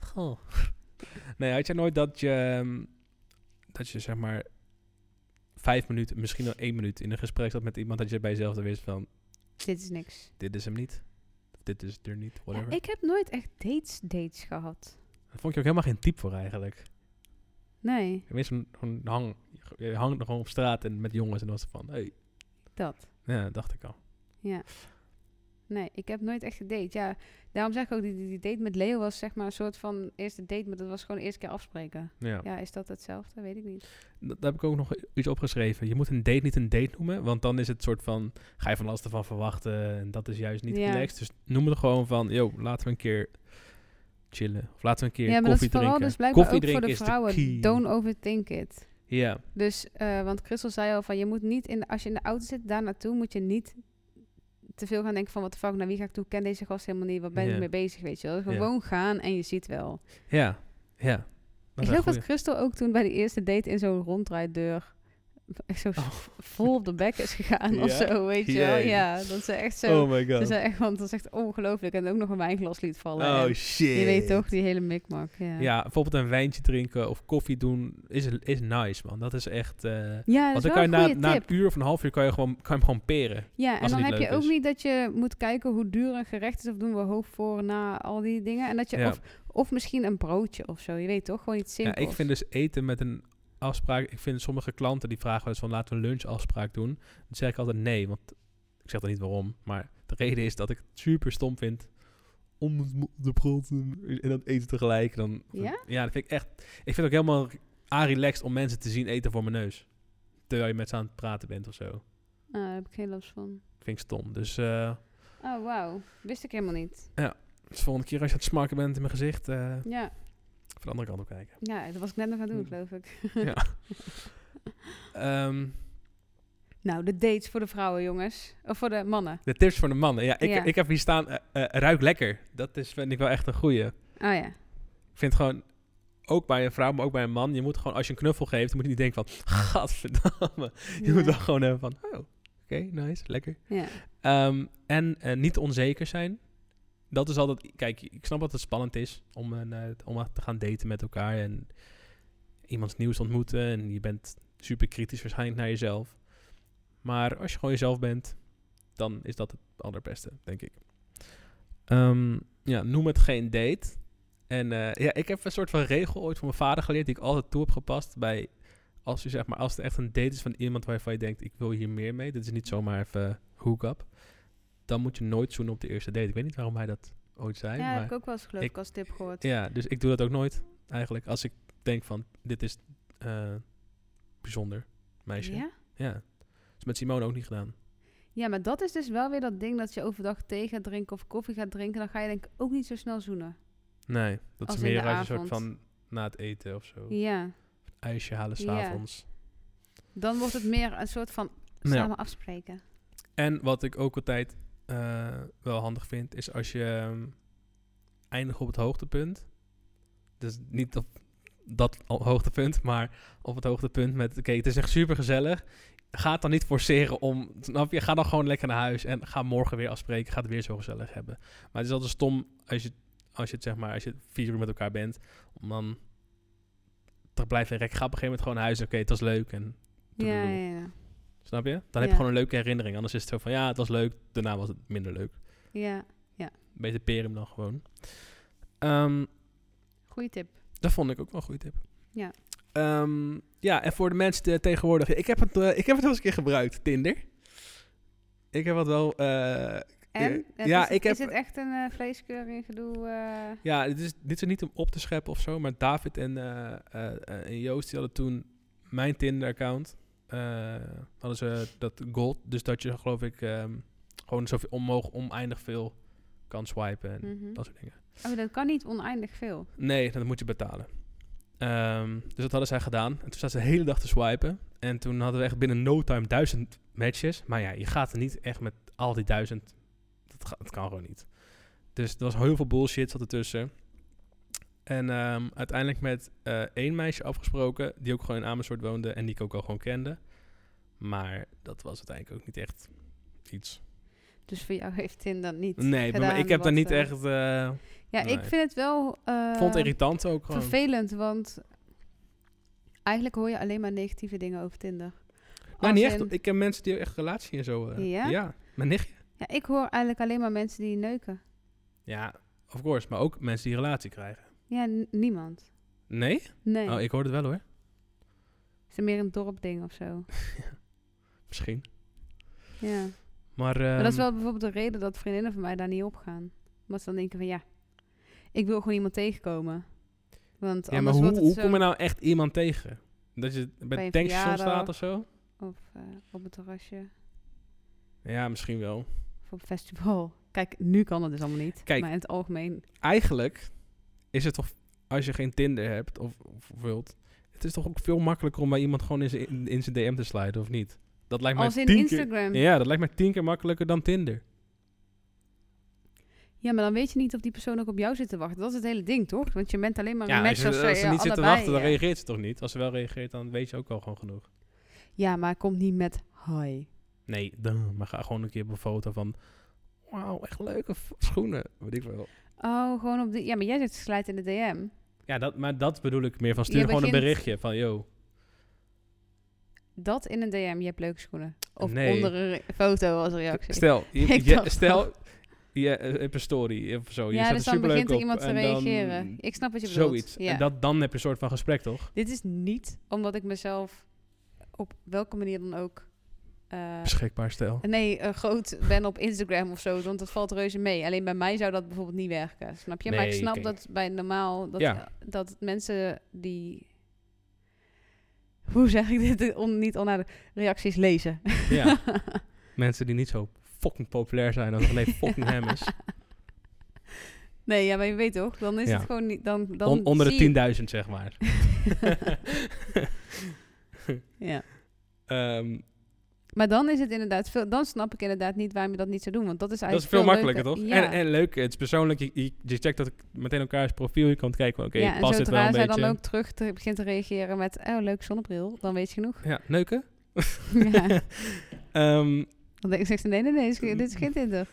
Speaker 1: Goh. Nee, had jij nooit dat je, ehm, dat je zeg maar vijf minuten, misschien wel één minuut in een gesprek zat met iemand dat je bij jezelf dan wist van
Speaker 2: Dit is niks.
Speaker 1: dit is hem niet, of dit is er niet,
Speaker 2: Ja,
Speaker 1: whatever.
Speaker 2: ik heb nooit echt dates, dates gehad.
Speaker 1: Daar vond ik je ook helemaal geen type voor eigenlijk.
Speaker 2: Nee,
Speaker 1: Meestal gewoon hang, je hangt nog gewoon op straat en met jongens en dan was het van, hey.
Speaker 2: dat.
Speaker 1: Ja, dat dacht ik al.
Speaker 2: Ja. Nee, ik heb nooit echt gedate. Ja, daarom zeg ik ook, die, die die date met Leo was zeg maar een soort van eerste date, maar dat was gewoon de eerste keer afspreken.
Speaker 1: Ja.
Speaker 2: Ja, is dat hetzelfde? Weet ik niet.
Speaker 1: Dat, daar heb ik ook nog iets opgeschreven. Je moet een date niet een date noemen, want dan is het soort van, ga je van alles ervan verwachten en dat is juist niet
Speaker 2: Ja.
Speaker 1: relaxed. Dus noem het gewoon van, yo, laten we een keer chillen. Of laten we een keer
Speaker 2: ja, maar dat is
Speaker 1: koffie
Speaker 2: vooral
Speaker 1: drinken.
Speaker 2: dus blijkbaar
Speaker 1: koffie
Speaker 2: ook voor
Speaker 1: drinken
Speaker 2: de
Speaker 1: is
Speaker 2: vrouwen.
Speaker 1: key.
Speaker 2: Don't overthink it.
Speaker 1: Ja,
Speaker 2: Dus, eh, want Christel zei al van, je moet niet, in, de- als je in de auto zit, daar naartoe moet je niet te veel gaan denken van, wat de fuck, naar wie ga ik toe? Ik ken deze gast helemaal niet, wat ben
Speaker 1: Ja.
Speaker 2: ik mee bezig, weet je wel.
Speaker 1: Ja.
Speaker 2: Gewoon gaan en je ziet wel.
Speaker 1: ja, ja. Dat
Speaker 2: ik
Speaker 1: is
Speaker 2: geloof
Speaker 1: een
Speaker 2: dat Christel ook toen bij de eerste date in zo'n rondrijdeur echt zo
Speaker 1: goeie.
Speaker 2: vol op de bek is gegaan of
Speaker 1: Oh. Ja?
Speaker 2: zo, weet je wel.
Speaker 1: Jee.
Speaker 2: Ja, dat ze echt
Speaker 1: Oh,
Speaker 2: zo,
Speaker 1: my
Speaker 2: ze
Speaker 1: god.
Speaker 2: zei echt, want dat is echt ongelooflijk. En ook nog een wijnglas liet vallen.
Speaker 1: oh
Speaker 2: En
Speaker 1: shit.
Speaker 2: je weet toch, die hele mikmak, ja.
Speaker 1: Ja, bijvoorbeeld een wijntje drinken of koffie doen is, is nice, man. Dat is echt... eh,
Speaker 2: Ja,
Speaker 1: want dan
Speaker 2: dat is
Speaker 1: kan
Speaker 2: wel
Speaker 1: je
Speaker 2: een
Speaker 1: na,
Speaker 2: goede
Speaker 1: na
Speaker 2: tip.
Speaker 1: een uur of een half uur kan je, gewoon, kan je hem gewoon peren.
Speaker 2: Ja, en
Speaker 1: Als het
Speaker 2: dan
Speaker 1: niet
Speaker 2: heb je
Speaker 1: leuk
Speaker 2: ook
Speaker 1: is.
Speaker 2: niet dat je moet kijken hoe duur een gerecht is. Of doen we hoofd voor, na, al die dingen. En dat je
Speaker 1: Ja.
Speaker 2: of, of misschien een broodje of zo. Je weet toch, gewoon iets
Speaker 1: Ja,
Speaker 2: simpels.
Speaker 1: ik vind dus eten met een afspraak. Ik vind sommige klanten die vragen wel eens van laten we een lunchafspraak doen. Dan zeg ik altijd nee, want ik zeg dan niet waarom. Maar de reden is dat ik het super stom vind om het mo- te praten en dan eten tegelijk. Dan,
Speaker 2: Ja?
Speaker 1: dat vind ik echt. Ik vind het ook helemaal aan-relaxed om mensen te zien eten voor mijn neus. Terwijl je met ze aan het praten bent of zo.
Speaker 2: Ah, daar heb ik geen last van.
Speaker 1: vind ik stom. Dus eh,
Speaker 2: Oh, wauw. Wist ik helemaal niet.
Speaker 1: dus volgende keer als je aan het smaken bent in mijn gezicht, eh,
Speaker 2: Ja,
Speaker 1: van de andere kant op kijken.
Speaker 2: ja, dat was ik net nog aan het doen,
Speaker 1: Hmm.
Speaker 2: geloof ik.
Speaker 1: Ehm,
Speaker 2: Nou, de dates voor de vrouwen, jongens. Of voor de mannen.
Speaker 1: De tips voor de mannen. Ja, ik,
Speaker 2: Ja.
Speaker 1: ik heb hier staan, eh, eh, ruik lekker. Dat is, vind ik wel echt een goeie.
Speaker 2: Oh ja.
Speaker 1: Ik vind gewoon, ook bij een vrouw, maar ook bij een man, je moet gewoon, als je een knuffel geeft, dan moet je niet denken van, gadverdamme. Je moet wel
Speaker 2: ja.
Speaker 1: gewoon hebben van, oh, oké, nice, lekker.
Speaker 2: Ja.
Speaker 1: Ehm, en eh, niet onzeker zijn. Dat is altijd, kijk, ik snap dat het spannend is om, een, eh, om te gaan daten met elkaar en iemands nieuws ontmoeten. En je bent super kritisch waarschijnlijk naar jezelf. Maar als je gewoon jezelf bent, dan is dat het allerbeste, denk ik. Ehm, ja, noem het geen date. En eh, ja, ik heb een soort van regel ooit van mijn vader geleerd die ik altijd toe heb gepast bij als je zeg maar als het echt een date is van iemand waarvan je denkt ik wil hier meer mee, dit is niet zomaar even hook up, dan moet je nooit zoenen op de eerste date. Ik weet niet waarom hij dat ooit zei,
Speaker 2: ja,
Speaker 1: maar
Speaker 2: heb ik ook wel eens geloof
Speaker 1: ik-
Speaker 2: ik als tip gehoord.
Speaker 1: ja, dus ik doe dat ook nooit eigenlijk als ik denk van dit is eh, bijzonder meisje.
Speaker 2: Ja?
Speaker 1: Ja. Dus met Simone ook niet gedaan.
Speaker 2: Ja, maar dat is dus wel weer dat ding dat je overdag thee gaat drinken of koffie gaat drinken. Dan ga je denk ik ook niet zo snel zoenen.
Speaker 1: Nee, dat
Speaker 2: Als
Speaker 1: is
Speaker 2: in de
Speaker 1: meer uit een soort
Speaker 2: avond.
Speaker 1: van na het eten of zo.
Speaker 2: Ja.
Speaker 1: Ijsje halen
Speaker 2: Ja.
Speaker 1: s'avonds.
Speaker 2: Dan wordt het meer een soort van
Speaker 1: Ja.
Speaker 2: samen afspreken.
Speaker 1: En wat ik ook altijd eh, wel handig vind, is als je ehm, eindigt op het hoogtepunt. Dus niet op dat al- hoogtepunt, maar op het hoogtepunt met... Oké, het is echt super gezellig. Ga het dan niet forceren om... Snap je? Ga dan gewoon lekker naar huis en ga morgen weer afspreken. Ga het weer zo gezellig hebben. Maar het is altijd stom als je, als je het zeg maar... Als je vier uur met elkaar bent, om dan te blijven rekken. Ga op een gegeven moment gewoon naar huis. Oké, het was leuk en
Speaker 2: Ja,
Speaker 1: Toedeloe.
Speaker 2: ja, ja.
Speaker 1: Snap je? Dan heb je
Speaker 2: Ja.
Speaker 1: gewoon een leuke herinnering. Anders is het zo van, ja, het was leuk. Daarna was het minder leuk.
Speaker 2: ja.
Speaker 1: Beter perim dan gewoon. Ehm,
Speaker 2: Goeie tip.
Speaker 1: dat vond ik ook wel een goede tip.
Speaker 2: Ja.
Speaker 1: Ehm, ja, en voor de mensen die tegenwoordig... Ik heb, het, eh, ik heb het wel eens een keer gebruikt, Tinder. Ik heb het wel... eh,
Speaker 2: En? Het
Speaker 1: Ja,
Speaker 2: is, het-
Speaker 1: ik heb-
Speaker 2: is het echt een eh, vleeskeuring gedoe? eh?
Speaker 1: ja, dit is, dit is niet om op te scheppen of zo. Maar David en, eh, eh, eh, en Joost, die hadden toen mijn Tinder-account. eh, hadden ze dat gold. Dus dat je, geloof ik, ehm, gewoon zoveel onmogelijk oneindig veel kan swipen. En
Speaker 2: Mhm.
Speaker 1: dat soort dingen.
Speaker 2: Oh, dat kan niet oneindig veel.
Speaker 1: Nee, dat moet je betalen. Ehm, dus dat hadden zij gedaan. En toen zaten ze de hele dag te swipen. En toen hadden we echt binnen no time duizend matches. Maar ja, je gaat er niet echt met al die duizend. Dat, ga- dat kan gewoon niet. Dus er was heel veel bullshit zat ertussen. En ehm, uiteindelijk met eh, één meisje afgesproken. Die ook gewoon in Amersfoort woonde. En die ik ook al gewoon kende. Maar dat was uiteindelijk ook niet echt iets.
Speaker 2: Dus voor jou heeft Tinder niet
Speaker 1: Nee, maar
Speaker 2: gedaan
Speaker 1: ik heb daar
Speaker 2: wat,
Speaker 1: niet
Speaker 2: eh,
Speaker 1: echt... eh
Speaker 2: Ja,
Speaker 1: nee.
Speaker 2: ik vind het wel... eh,
Speaker 1: vond het irritant ook gewoon.
Speaker 2: vervelend, want eigenlijk hoor je alleen maar negatieve dingen over Tinder.
Speaker 1: Nou,
Speaker 2: Als
Speaker 1: niet echt.
Speaker 2: in-
Speaker 1: hoor. Ik ken mensen die echt relatie en zo. eh,
Speaker 2: Ja?
Speaker 1: ja, mijn nichtje.
Speaker 2: Ja, ik hoor eigenlijk alleen maar mensen die neuken.
Speaker 1: Ja, of course. Maar ook mensen die relatie krijgen.
Speaker 2: Ja, n- niemand.
Speaker 1: Nee?
Speaker 2: Nee.
Speaker 1: Oh, ik hoor het wel hoor.
Speaker 2: Is het meer een dorpding of zo?
Speaker 1: Misschien.
Speaker 2: Ja.
Speaker 1: Maar,
Speaker 2: maar dat is
Speaker 1: ehm,
Speaker 2: wel bijvoorbeeld de reden dat vriendinnen van mij daar niet op gaan. Omdat ze dan denken van ja, ik wil gewoon iemand tegenkomen. Want
Speaker 1: Ja, maar
Speaker 2: anders
Speaker 1: hoe,
Speaker 2: wordt het
Speaker 1: hoe
Speaker 2: zo...
Speaker 1: kom je nou echt iemand tegen? Dat je bij
Speaker 2: een
Speaker 1: het tankstation
Speaker 2: verjaardag.
Speaker 1: staat of zo?
Speaker 2: Of eh, op het terrasje.
Speaker 1: Ja, misschien wel.
Speaker 2: Of op het festival. Kijk, nu kan dat dus allemaal niet.
Speaker 1: Kijk.
Speaker 2: Maar in het algemeen.
Speaker 1: Eigenlijk is het toch, als je geen Tinder hebt of, of wilt, het is toch ook veel makkelijker om bij iemand gewoon in zijn in, in zijn DM te sliden, of niet? Dat lijkt mij
Speaker 2: Als in
Speaker 1: tien
Speaker 2: Instagram.
Speaker 1: keer.
Speaker 2: Ja.
Speaker 1: Ja, dat lijkt mij tien keer makkelijker dan Tinder.
Speaker 2: maar dan weet je niet of die persoon ook op jou zit te wachten. Dat is het hele ding, toch? Want je bent alleen maar een
Speaker 1: Ja, als,
Speaker 2: match
Speaker 1: je,
Speaker 2: als,
Speaker 1: als ze
Speaker 2: eh,
Speaker 1: niet zit te
Speaker 2: allebei,
Speaker 1: wachten, dan
Speaker 2: ja.
Speaker 1: reageert ze toch niet? Als ze wel reageert, dan weet je ook al gewoon genoeg.
Speaker 2: Ja, maar komt niet met hi.
Speaker 1: Nee, dan, maar ga gewoon een keer op een foto van... Wauw, echt leuke v- schoenen. Weet ik wel.
Speaker 2: Oh, gewoon op de... Ja, maar jij zit slijt in de DM.
Speaker 1: Ja, dat, maar dat bedoel ik meer van stuur
Speaker 2: Je
Speaker 1: gewoon een
Speaker 2: begint-
Speaker 1: berichtje van... Yo,
Speaker 2: Dat in een DM, je hebt leuke schoenen. Of
Speaker 1: Nee.
Speaker 2: onder een re- foto als reactie.
Speaker 1: stel, je,
Speaker 2: Ik
Speaker 1: je-
Speaker 2: dacht
Speaker 1: stel je eh, hebt een story of zo. Oh, Je
Speaker 2: ja,
Speaker 1: staat
Speaker 2: dus
Speaker 1: er
Speaker 2: dan
Speaker 1: superleuk
Speaker 2: begint er
Speaker 1: op
Speaker 2: iemand te
Speaker 1: en dan
Speaker 2: reageren. ik snap wat je bedoelt.
Speaker 1: Zoiets.
Speaker 2: Ja.
Speaker 1: En dat, dan heb je een soort van gesprek, toch?
Speaker 2: Dit is niet omdat ik mezelf eh, op welke manier dan ook... eh,
Speaker 1: Beschikbaar, stel.
Speaker 2: nee, eh, groot ben op Instagram of zo, want dat valt reuze mee. Alleen bij mij zou dat bijvoorbeeld niet werken, snap je? maar ik
Speaker 1: Nee,
Speaker 2: snap
Speaker 1: kijk.
Speaker 2: dat bij normaal, dat,
Speaker 1: Ja.
Speaker 2: dat mensen die... Hoe zeg ik dit? On, niet al naar de reacties lezen.
Speaker 1: Ja. Mensen die niet zo fucking populair zijn als alleen fucking hem is.
Speaker 2: Nee, ja, maar je weet toch? Dan is
Speaker 1: Ja.
Speaker 2: het gewoon niet. Dan, dan
Speaker 1: On- onder
Speaker 2: zie je-
Speaker 1: de 10.000, zeg maar.
Speaker 2: Ja.
Speaker 1: Ehm,
Speaker 2: Maar dan is het inderdaad veel. Dan snap ik inderdaad niet waarom je dat niet zou doen. Want dat is
Speaker 1: Dat is
Speaker 2: eigenlijk.
Speaker 1: veel makkelijker, toch?
Speaker 2: leuker. Ja.
Speaker 1: En, en leuk, het is persoonlijk. Je, je, je checkt dat meteen elkaars profiel. Je kan kijken, van, oké,
Speaker 2: ja, en
Speaker 1: past dit wel
Speaker 2: zodra
Speaker 1: een
Speaker 2: zij
Speaker 1: beetje?
Speaker 2: dan ook terug te, begint te reageren met. Oh, leuk zonnebril. Dan weet je genoeg.
Speaker 1: Ja, neuken?
Speaker 2: ja.
Speaker 1: Ehm,
Speaker 2: Dan denk- zegt ze: nee, nee, nee. Dit is, dit is geen Tinder.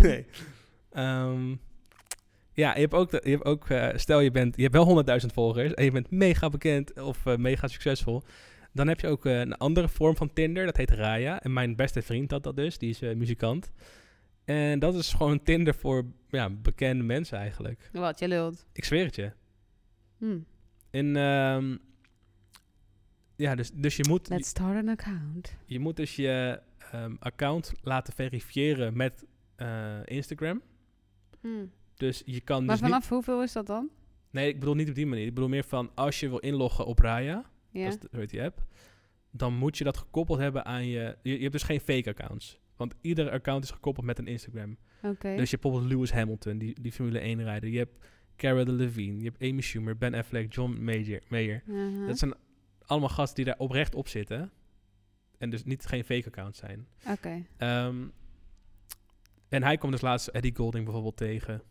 Speaker 1: nee. Ehm, ja, je hebt ook, de- je hebt ook eh, stel je bent, je hebt wel 100.000 volgers en je bent mega bekend of eh, mega succesvol. Dan heb je ook eh, een andere vorm van Tinder, dat heet Raya. En mijn beste vriend had dat dus, die is eh, muzikant. En dat is gewoon Tinder voor ja, bekende mensen eigenlijk.
Speaker 2: Wat, je lult.
Speaker 1: Ik zweer het je.
Speaker 2: Hm.
Speaker 1: En ehm, ja, dus, dus je, moet, je,
Speaker 2: Let's start an account.
Speaker 1: je moet dus je ehm, account laten verifiëren met eh, Instagram.
Speaker 2: Hm.
Speaker 1: Dus je kan
Speaker 2: Maar
Speaker 1: dus
Speaker 2: vanaf hoeveel is dat dan?
Speaker 1: niet... Nee, ik bedoel niet op die manier. Ik bedoel meer van als je wil inloggen op Raya,
Speaker 2: Ja.
Speaker 1: dat is de, zo heet die app, dan moet je dat gekoppeld hebben aan je... Je, je hebt dus geen fake accounts. Want ieder account is gekoppeld met een Instagram.
Speaker 2: Oké.
Speaker 1: Dus je hebt bijvoorbeeld Lewis Hamilton, die, die Formule 1 rijder. Je hebt Cara Delevingne, je hebt Amy Schumer, Ben Affleck, John Major, Mayer.
Speaker 2: Aha.
Speaker 1: Dat zijn allemaal gasten die daar oprecht op zitten. En dus niet geen fake accounts zijn.
Speaker 2: Oké.
Speaker 1: Ehm, en hij kwam dus laatst Eddie Golding bijvoorbeeld tegen.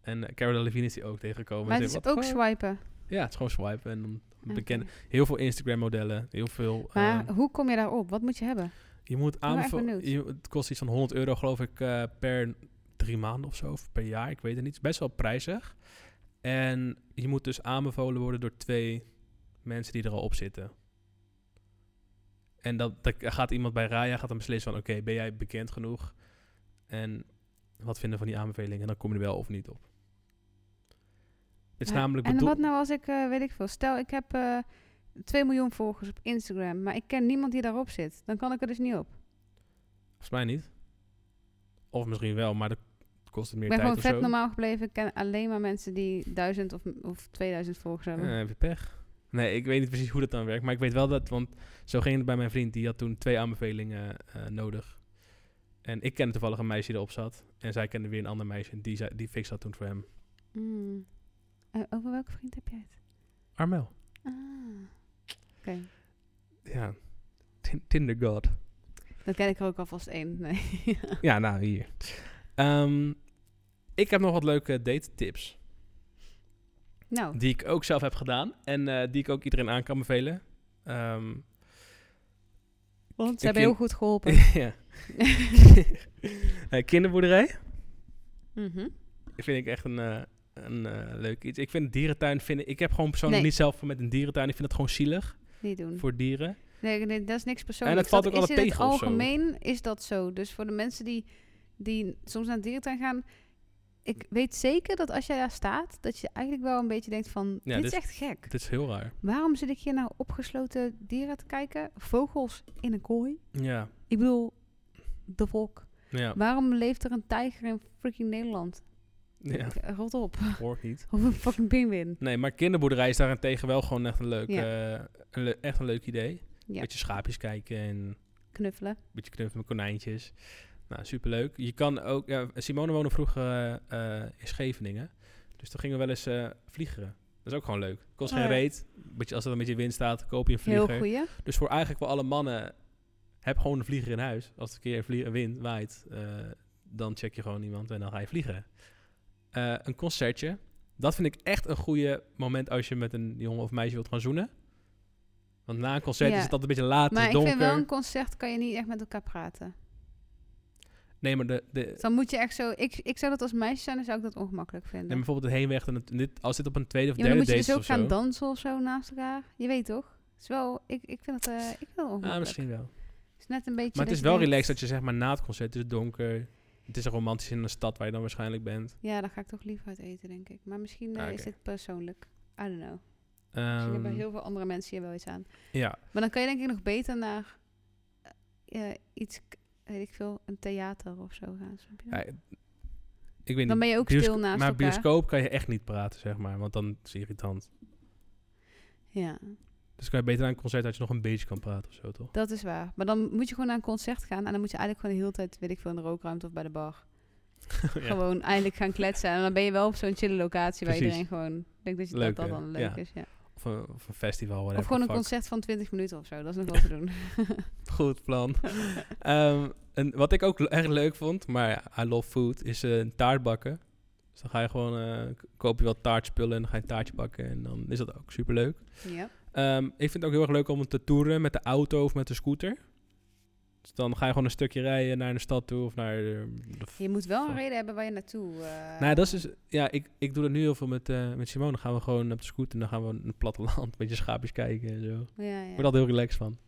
Speaker 1: En eh, Cara Levine is hij ook tegengekomen.
Speaker 2: Maar
Speaker 1: En
Speaker 2: het
Speaker 1: zei,
Speaker 2: is
Speaker 1: "What the
Speaker 2: ook
Speaker 1: fuck?"
Speaker 2: swipen.
Speaker 1: Ja, het is gewoon swipen. En dan
Speaker 2: Oké.
Speaker 1: bekende, heel veel Instagram-modellen. Heel veel...
Speaker 2: Maar
Speaker 1: ehm,
Speaker 2: hoe kom je daarop? Wat moet je hebben?
Speaker 1: je moet
Speaker 2: ben wel echt
Speaker 1: aanbevo-
Speaker 2: benieuwd.
Speaker 1: je- Het kost iets van 100 euro, geloof ik, eh, per drie maanden of zo. Of per jaar, ik weet het niet. Het is best wel prijzig. En je moet dus aanbevolen worden door twee mensen die er al op zitten. En dat, dat gaat iemand bij Raya gaat dan beslissen van... Oké, ben jij bekend genoeg? En wat vinden we van die aanbeveling? En dan kom je er wel of niet op. Het is
Speaker 2: Maar-
Speaker 1: namelijk
Speaker 2: en
Speaker 1: bedoel-
Speaker 2: wat nou als ik, eh, weet ik veel, stel ik heb eh 2 miljoen volgers op Instagram, maar ik ken niemand die daarop zit. Dan kan ik er dus niet op.
Speaker 1: Volgens mij niet. Of misschien wel, maar dat kost het meer
Speaker 2: Ik ben
Speaker 1: tijd
Speaker 2: gewoon
Speaker 1: of zo.
Speaker 2: vet normaal gebleven. Ik ken alleen maar mensen die 1000 of, of 2000 volgers hebben.
Speaker 1: Eh, heb je pech. Nee, ik weet niet precies hoe dat dan werkt. Maar ik weet wel dat, want zo ging het bij mijn vriend. Die had toen twee aanbevelingen eh, nodig. En ik kende toevallig een meisje die erop zat. En zij kende weer een ander meisje. En die, zei, die fixte dat toen voor hem.
Speaker 2: Mm. Eh, over welke vriend heb jij het?
Speaker 1: Armel.
Speaker 2: Ah. Oké,
Speaker 1: Ja. Tin- Tinder god.
Speaker 2: dan ken ik er ook alvast één. Nee.
Speaker 1: ja, nou, hier. Ehm, ik heb nog wat leuke date tips.
Speaker 2: nou,
Speaker 1: Die ik ook zelf heb gedaan. En eh, die ik ook iedereen aan kan bevelen. Ehm,
Speaker 2: want
Speaker 1: ik
Speaker 2: ze hebben
Speaker 1: ken-
Speaker 2: heel goed geholpen.
Speaker 1: ja. Eh, kinderboerderij.
Speaker 2: Mhm.
Speaker 1: vind ik echt een, eh, een eh, leuk iets. Ik vind dierentuin, vind ik, ik heb gewoon persoonlijk
Speaker 2: Nee. Mm.
Speaker 1: niet zelf met een dierentuin. Ik vind het gewoon zielig
Speaker 2: Niet doen.
Speaker 1: voor dieren.
Speaker 2: Nee, nee, dat is niks persoonlijks.
Speaker 1: valt
Speaker 2: dat
Speaker 1: ook
Speaker 2: is
Speaker 1: altijd
Speaker 2: in
Speaker 1: tegen
Speaker 2: het
Speaker 1: of zo.
Speaker 2: algemeen is dat zo. Dus voor de mensen die, die soms naar de dierentuin gaan... Ik weet zeker dat als jij daar staat, dat je eigenlijk wel een beetje denkt van...
Speaker 1: Ja,
Speaker 2: dit
Speaker 1: dit-
Speaker 2: is echt gek.
Speaker 1: Het is heel raar.
Speaker 2: Waarom zit ik hier naar opgesloten dieren te kijken? Vogels in een kooi?
Speaker 1: Ja,
Speaker 2: Ik bedoel, de volk.
Speaker 1: ja,
Speaker 2: Waarom leeft er een tijger in freaking Nederland?
Speaker 1: ja.
Speaker 2: Ik- eh, Rot op.
Speaker 1: hoor ik niet.
Speaker 2: Of een fucking pinguïn.
Speaker 1: Nee, maar kinderboerderij is daarentegen wel gewoon echt een leuk, eh, een le- echt een leuk idee.
Speaker 2: Ja.
Speaker 1: Beetje schaapjes kijken en een
Speaker 2: Knuffelen.
Speaker 1: beetje knuffelen met konijntjes. Nou, superleuk. Je kan ook... Ja, Simone woonde vroeger eh, eh, in Scheveningen. Dus toen gingen we wel eens eh vliegeren. Dat is ook gewoon leuk. Kost
Speaker 2: Oh,
Speaker 1: geen
Speaker 2: ja.
Speaker 1: reet. Beetje, als er een beetje wind staat, koop je een vlieger.
Speaker 2: Heel goeie.
Speaker 1: Dus voor eigenlijk wel alle mannen, heb gewoon een vlieger in huis. Als het een keer een vlie- een wind waait, eh, dan check je gewoon iemand en dan ga je vliegen. Eh, een concertje. Dat vind ik echt een goede moment als je met een jongen of meisje wilt gaan zoenen. Want na een concert
Speaker 2: Ja.
Speaker 1: is het altijd een beetje laat, het
Speaker 2: Maar
Speaker 1: is
Speaker 2: ik
Speaker 1: donker.
Speaker 2: vind wel, een concert kan je niet echt met elkaar praten.
Speaker 1: Nee, maar de, de,
Speaker 2: Dus dan moet je echt zo... Ik, ik zou dat als meisje zijn, dan zou ik dat ongemakkelijk
Speaker 1: neem
Speaker 2: vinden.
Speaker 1: bijvoorbeeld het heenweg en het- en dit, als dit op een tweede of
Speaker 2: Ja, maar dan
Speaker 1: derde
Speaker 2: moet je
Speaker 1: date
Speaker 2: dus
Speaker 1: is
Speaker 2: ook
Speaker 1: of zo.
Speaker 2: gaan dansen of zo naast elkaar. Je weet toch? Het is wel... Ik, ik vind dat... eh, ik vind dat ongemakkelijk.
Speaker 1: ah, misschien wel.
Speaker 2: Het is net een beetje...
Speaker 1: Maar het
Speaker 2: dat
Speaker 1: is
Speaker 2: je dus
Speaker 1: wel
Speaker 2: denkt,
Speaker 1: relaxed dat je zeg maar na het concert, het is donker. Het is romantisch in een stad waar je dan waarschijnlijk bent.
Speaker 2: Ja, dan ga ik toch liever uit eten, denk ik. Maar misschien eh,
Speaker 1: Ah,
Speaker 2: is
Speaker 1: oké.
Speaker 2: dit persoonlijk. I don't know. Misschien
Speaker 1: Ehm,
Speaker 2: hebben heel veel andere mensen hier wel iets aan.
Speaker 1: Ja,
Speaker 2: Maar dan kan je denk ik nog beter naar eh, eh, iets, k- weet ik veel, een theater of zo gaan. snap je?
Speaker 1: Ja, ik weet
Speaker 2: dan
Speaker 1: niet.
Speaker 2: ben je ook
Speaker 1: Biosco-
Speaker 2: stil naast
Speaker 1: maar
Speaker 2: elkaar.
Speaker 1: bioscoop kan je echt niet praten, zeg maar. Want dan is het irritant.
Speaker 2: Ja,
Speaker 1: Dus kan je beter aan een concert dat je nog een beetje kan praten of zo, toch?
Speaker 2: dat is waar. Maar dan moet je gewoon naar een concert gaan. En dan moet je eigenlijk gewoon de hele tijd, weet ik veel, in de rookruimte of bij de bar.
Speaker 1: Ja.
Speaker 2: Gewoon eindelijk gaan kletsen. En dan ben je wel op zo'n chille locatie waar
Speaker 1: Precies.
Speaker 2: iedereen gewoon... Ik denk dat je
Speaker 1: Leuk,
Speaker 2: dat,
Speaker 1: hè?
Speaker 2: dat dan leuk
Speaker 1: Ja.
Speaker 2: is, ja.
Speaker 1: Of, een, of een festival, whatever.
Speaker 2: Of gewoon een
Speaker 1: fuck.
Speaker 2: concert van 20 minuten of zo. Dat is nog wel te doen.
Speaker 1: Goed plan. Ehm, en wat ik ook le- erg leuk vond, maar I love food, is eh, een taart bakken. Dus dan ga je gewoon, eh, k- koop je wat taartspullen en dan ga je een taartje bakken. En dan is dat ook superleuk.
Speaker 2: ja.
Speaker 1: Ehm, ik vind het ook heel erg leuk om te toeren met de auto of met de scooter. Dus dan ga je gewoon een stukje rijden naar een stad toe of naar de, de
Speaker 2: Je moet wel een
Speaker 1: Fuck.
Speaker 2: reden hebben waar je naartoe... eh,
Speaker 1: Nou, ja, dat is dus, ja, ik, ik doe dat nu heel veel met, eh, met Simone. Dan gaan we gewoon op de scooter en dan gaan we naar het platteland. Een beetje schaapjes kijken en zo. Ik
Speaker 2: Ja, ja.
Speaker 1: word altijd heel relaxed van.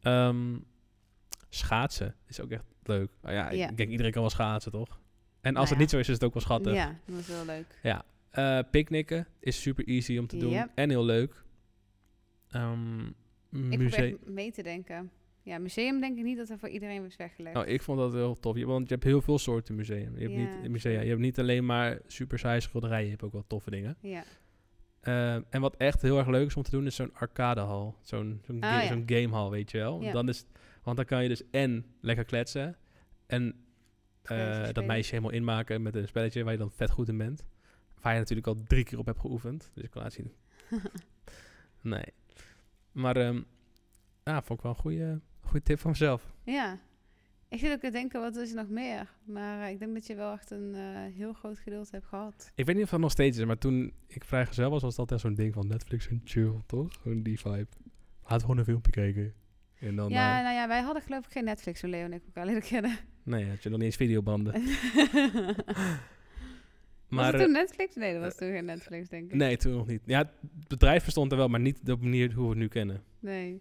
Speaker 1: Ehm, schaatsen is ook echt leuk. Nou ja, ik
Speaker 2: Ja.
Speaker 1: denk iedereen kan wel schaatsen, toch? En als
Speaker 2: Nou
Speaker 1: het
Speaker 2: ja.
Speaker 1: niet zo is, is het ook wel schattig. Eh
Speaker 2: Ja, dat is wel leuk.
Speaker 1: picknicken is super easy om te doen
Speaker 2: Yep.
Speaker 1: en heel leuk. Ehm
Speaker 2: Ik
Speaker 1: museum.
Speaker 2: probeer mee te denken. Ja, museum denk ik niet dat er voor iedereen is weggelegd.
Speaker 1: Nou, ik vond dat heel tof. Je- Want je hebt heel veel soorten museum. Je hebt,
Speaker 2: Ja.
Speaker 1: niet, musea. Je hebt niet alleen maar super saaie schilderijen. Je hebt ook wel toffe dingen.
Speaker 2: Ja.
Speaker 1: Eh, en wat echt heel erg leuk is om te doen, is zo'n arcadehal. Zo'n zo'n
Speaker 2: Ah,
Speaker 1: ga-
Speaker 2: ja.
Speaker 1: zo'n gamehal, weet je wel.
Speaker 2: Ja.
Speaker 1: Dan is, want dan kan je dus en lekker kletsen. En eh,
Speaker 2: Spelletjes
Speaker 1: dat
Speaker 2: spelen.
Speaker 1: meisje helemaal inmaken met een spelletje waar je dan vet goed in bent. Waar je natuurlijk al drie keer op hebt geoefend. Dus ik kan laten zien. nee. Maar ehm ja, vond ik wel een goede, Goeie tip van mezelf.
Speaker 2: Ja. Ik zit ook te denken, wat is er nog meer? Maar eh, ik denk dat je wel echt een eh, heel groot gedeelte hebt gehad.
Speaker 1: Ik weet niet of dat nog steeds is, maar toen ik vrijgezel was, was dat echt zo'n ding van Netflix en chill, toch? Gewoon die vibe. Laat gewoon een filmpje kijken. En dan,
Speaker 2: ja,
Speaker 1: eh,
Speaker 2: nou ja, wij hadden geloof ik geen Netflix toen Leo en ik elkaar leren kennen.
Speaker 1: nee, had je nog niet eens videobanden.
Speaker 2: was
Speaker 1: Maar,
Speaker 2: het
Speaker 1: eh,
Speaker 2: toen Netflix? Nee, dat was toen geen Netflix, denk ik.
Speaker 1: nee, toen nog niet. Ja, het bedrijf bestond er wel, maar niet op de manier hoe we het nu kennen.
Speaker 2: Nee.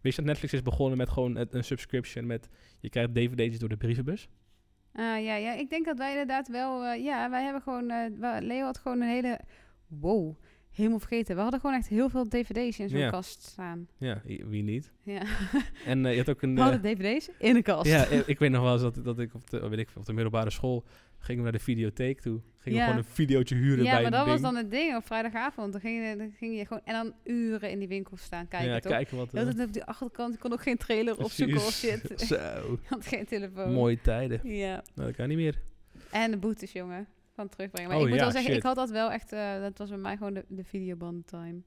Speaker 1: Weet je dat Netflix is begonnen met gewoon het- een subscription met... Je krijgt dvd'tjes door de brievenbus.
Speaker 2: Ah, ja, ja, ik denk dat wij inderdaad wel... eh, ja, wij hebben gewoon... eh, wa- Leo had gewoon een hele... Wow, helemaal vergeten. We hadden gewoon echt heel veel dvd's in zo'n
Speaker 1: Ja.
Speaker 2: kast staan.
Speaker 1: Ja, i- wie niet.
Speaker 2: Ja.
Speaker 1: En eh, je had ook een...
Speaker 2: We
Speaker 1: eh,
Speaker 2: hadden dvd's in de kast.
Speaker 1: Ja, eh, ik weet nog wel eens dat, dat ik op de, weet ik, veel, op de middelbare school ging we naar de videotheek toe. Ging we
Speaker 2: Ja.
Speaker 1: gewoon een videootje huren
Speaker 2: Ja,
Speaker 1: bij
Speaker 2: maar
Speaker 1: een
Speaker 2: dat was
Speaker 1: ding.
Speaker 2: dan het ding op vrijdagavond. Dan ging, je, dan ging je gewoon en dan uren in die winkel staan kijken,
Speaker 1: ja,
Speaker 2: toch?
Speaker 1: kijken wat... eh,
Speaker 2: Je had het op die achterkant, je kon ook geen trailer opzoeken of shit. Oh.
Speaker 1: shit. Zo,
Speaker 2: Je had geen telefoon.
Speaker 1: mooie tijden.
Speaker 2: Ja.
Speaker 1: Nou, dat kan niet meer.
Speaker 2: En de boetes, jongen. Van terugbrengen. Maar
Speaker 1: Oh
Speaker 2: ik moet
Speaker 1: ja,
Speaker 2: wel zeggen,
Speaker 1: shit.
Speaker 2: ik had dat wel echt... eh, dat was bij mij gewoon de, de videoband time.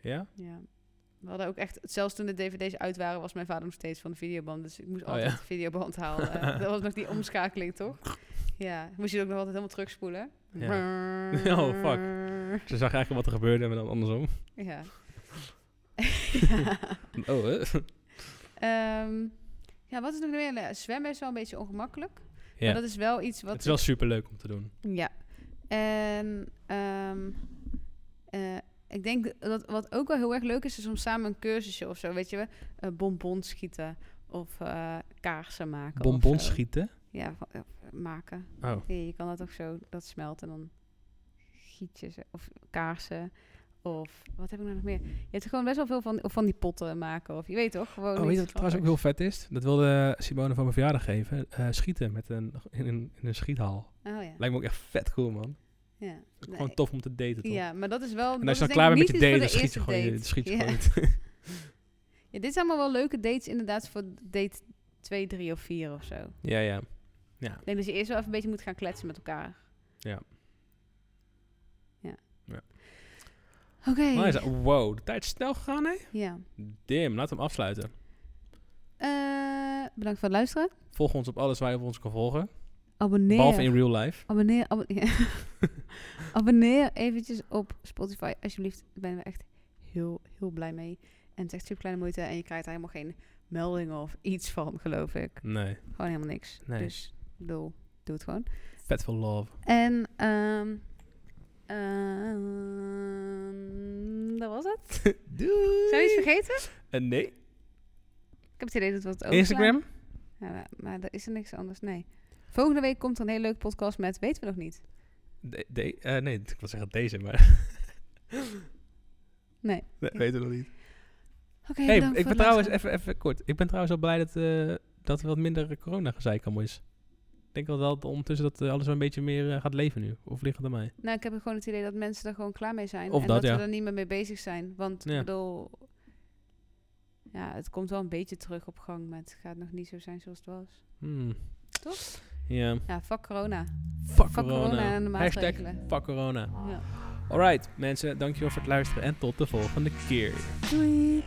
Speaker 1: Ja?
Speaker 2: Ja. We hadden ook echt... Zelfs toen de dvd's uit waren, was mijn vader nog steeds van de videoband. Dus ik moest
Speaker 1: Oh
Speaker 2: altijd
Speaker 1: ja.
Speaker 2: de videoband halen. Eh, dat was nog die omschakeling, toch? Ja. Moest je ook nog altijd helemaal terugspoelen.
Speaker 1: Ja. Oh, fuck. Ze zag eigenlijk wat er gebeurde en we dan andersom.
Speaker 2: Ja.
Speaker 1: Oh, hè?
Speaker 2: Ehm, ja, wat is nog meer? Nou, Zwemmen is wel een beetje ongemakkelijk.
Speaker 1: Ja,
Speaker 2: Maar dat is wel iets wat...
Speaker 1: het is wel superleuk om te doen.
Speaker 2: Ja. En ehm, eh, ik denk dat wat ook wel heel erg leuk is, is om samen een cursusje of zo, weet je wel, eh, bonbons schieten of eh, kaarsen maken. of
Speaker 1: Bonbons
Speaker 2: zo.
Speaker 1: schieten.
Speaker 2: Ja, van- eh, maken.
Speaker 1: Oh,
Speaker 2: Ja, je kan dat ook zo, dat smelt en dan giet je ze, of kaarsen. Of wat heb ik nou nog meer? Je hebt gewoon best wel veel van, of van die potten maken. Of je weet toch? Gewoon
Speaker 1: oh weet
Speaker 2: iets
Speaker 1: je wat trouwens ook
Speaker 2: grappigs.
Speaker 1: heel vet is? Dat wilde Simone van mijn verjaardag geven. Eh, schieten met een, in, een, in een schiethaal.
Speaker 2: Oh ja.
Speaker 1: Lijkt me ook echt vet cool, man.
Speaker 2: ja. Nee,
Speaker 1: Gewoon tof om te daten, toch?
Speaker 2: Ja, maar dat is wel.
Speaker 1: En
Speaker 2: dat
Speaker 1: als je dan
Speaker 2: is denk
Speaker 1: klaar bent
Speaker 2: ik
Speaker 1: met
Speaker 2: niet
Speaker 1: je
Speaker 2: iets
Speaker 1: date,
Speaker 2: voor
Speaker 1: dan
Speaker 2: de
Speaker 1: schiet je
Speaker 2: eerste
Speaker 1: gewoon je-
Speaker 2: date.
Speaker 1: schiet je
Speaker 2: Ja.
Speaker 1: gewoon
Speaker 2: Ja, dit zijn allemaal wel leuke dates inderdaad voor date 2, 3 of 4 of zo. Ik
Speaker 1: Ja, ja.
Speaker 2: denk dat je eerst wel even een beetje moet gaan kletsen met elkaar.
Speaker 1: Ja.
Speaker 2: Ja.
Speaker 1: Ja.
Speaker 2: Oké.
Speaker 1: Nice. Wow, de tijd is snel gegaan, hè?
Speaker 2: Ja.
Speaker 1: Dim, laten we hem afsluiten.
Speaker 2: Eh, bedankt voor het luisteren.
Speaker 1: Volg ons op alles waar je op ons kan volgen.
Speaker 2: Abonneer.
Speaker 1: Behalve in real life.
Speaker 2: Abonneer, abon- ja. abonneer eventjes op Spotify, alsjeblieft. Daar ben we echt heel, heel blij mee. En het is echt super kleine moeite. En je krijgt daar helemaal geen meldingen of iets van, geloof ik.
Speaker 1: Nee.
Speaker 2: Gewoon helemaal niks.
Speaker 1: Nee.
Speaker 2: Dus ik bedoel, doe het gewoon.
Speaker 1: Vet veel love.
Speaker 2: En ehm, ehm, dat was het.
Speaker 1: Doei.
Speaker 2: Zijn we iets vergeten? Oh,
Speaker 1: Eh, nee.
Speaker 2: Ik heb het idee dat we het ook
Speaker 1: Instagram?
Speaker 2: Ja, maar, maar er is er niks anders, nee. Volgende week komt er een hele leuke podcast met Weten we nog niet.
Speaker 1: De, de- eh, nee, ik wil zeggen deze, maar...
Speaker 2: Nee.
Speaker 1: Dat weten we nog niet.
Speaker 2: Oké,
Speaker 1: Hey,
Speaker 2: bedankt
Speaker 1: ik
Speaker 2: voor
Speaker 1: ben
Speaker 2: het
Speaker 1: trouwens,
Speaker 2: luisteren.
Speaker 1: even, even kort. Ik ben trouwens wel blij dat, eh, dat er wat minder corona-gezeik allemaal is. Ik denk wel dat ondertussen dat eh, alles wel een beetje meer eh, gaat leven nu. Of ligt het aan mij?
Speaker 2: Nou, ik heb gewoon het idee dat mensen er gewoon klaar mee zijn.
Speaker 1: Of
Speaker 2: en
Speaker 1: dat,
Speaker 2: dat,
Speaker 1: ja.
Speaker 2: we er niet meer mee bezig zijn. Want
Speaker 1: Ja.
Speaker 2: ik bedoel... Ja, het komt wel een beetje terug op gang. Maar het gaat nog niet zo zijn zoals het was.
Speaker 1: Hmm.
Speaker 2: Toch?
Speaker 1: Ja.
Speaker 2: Ja, fuck corona.
Speaker 1: Fuck,
Speaker 2: Fuck corona en de
Speaker 1: Hashtag
Speaker 2: maatregelen.
Speaker 1: fuck corona.
Speaker 2: Ja.
Speaker 1: Alright, mensen, dankjewel voor het luisteren en tot de volgende keer.
Speaker 2: Doei!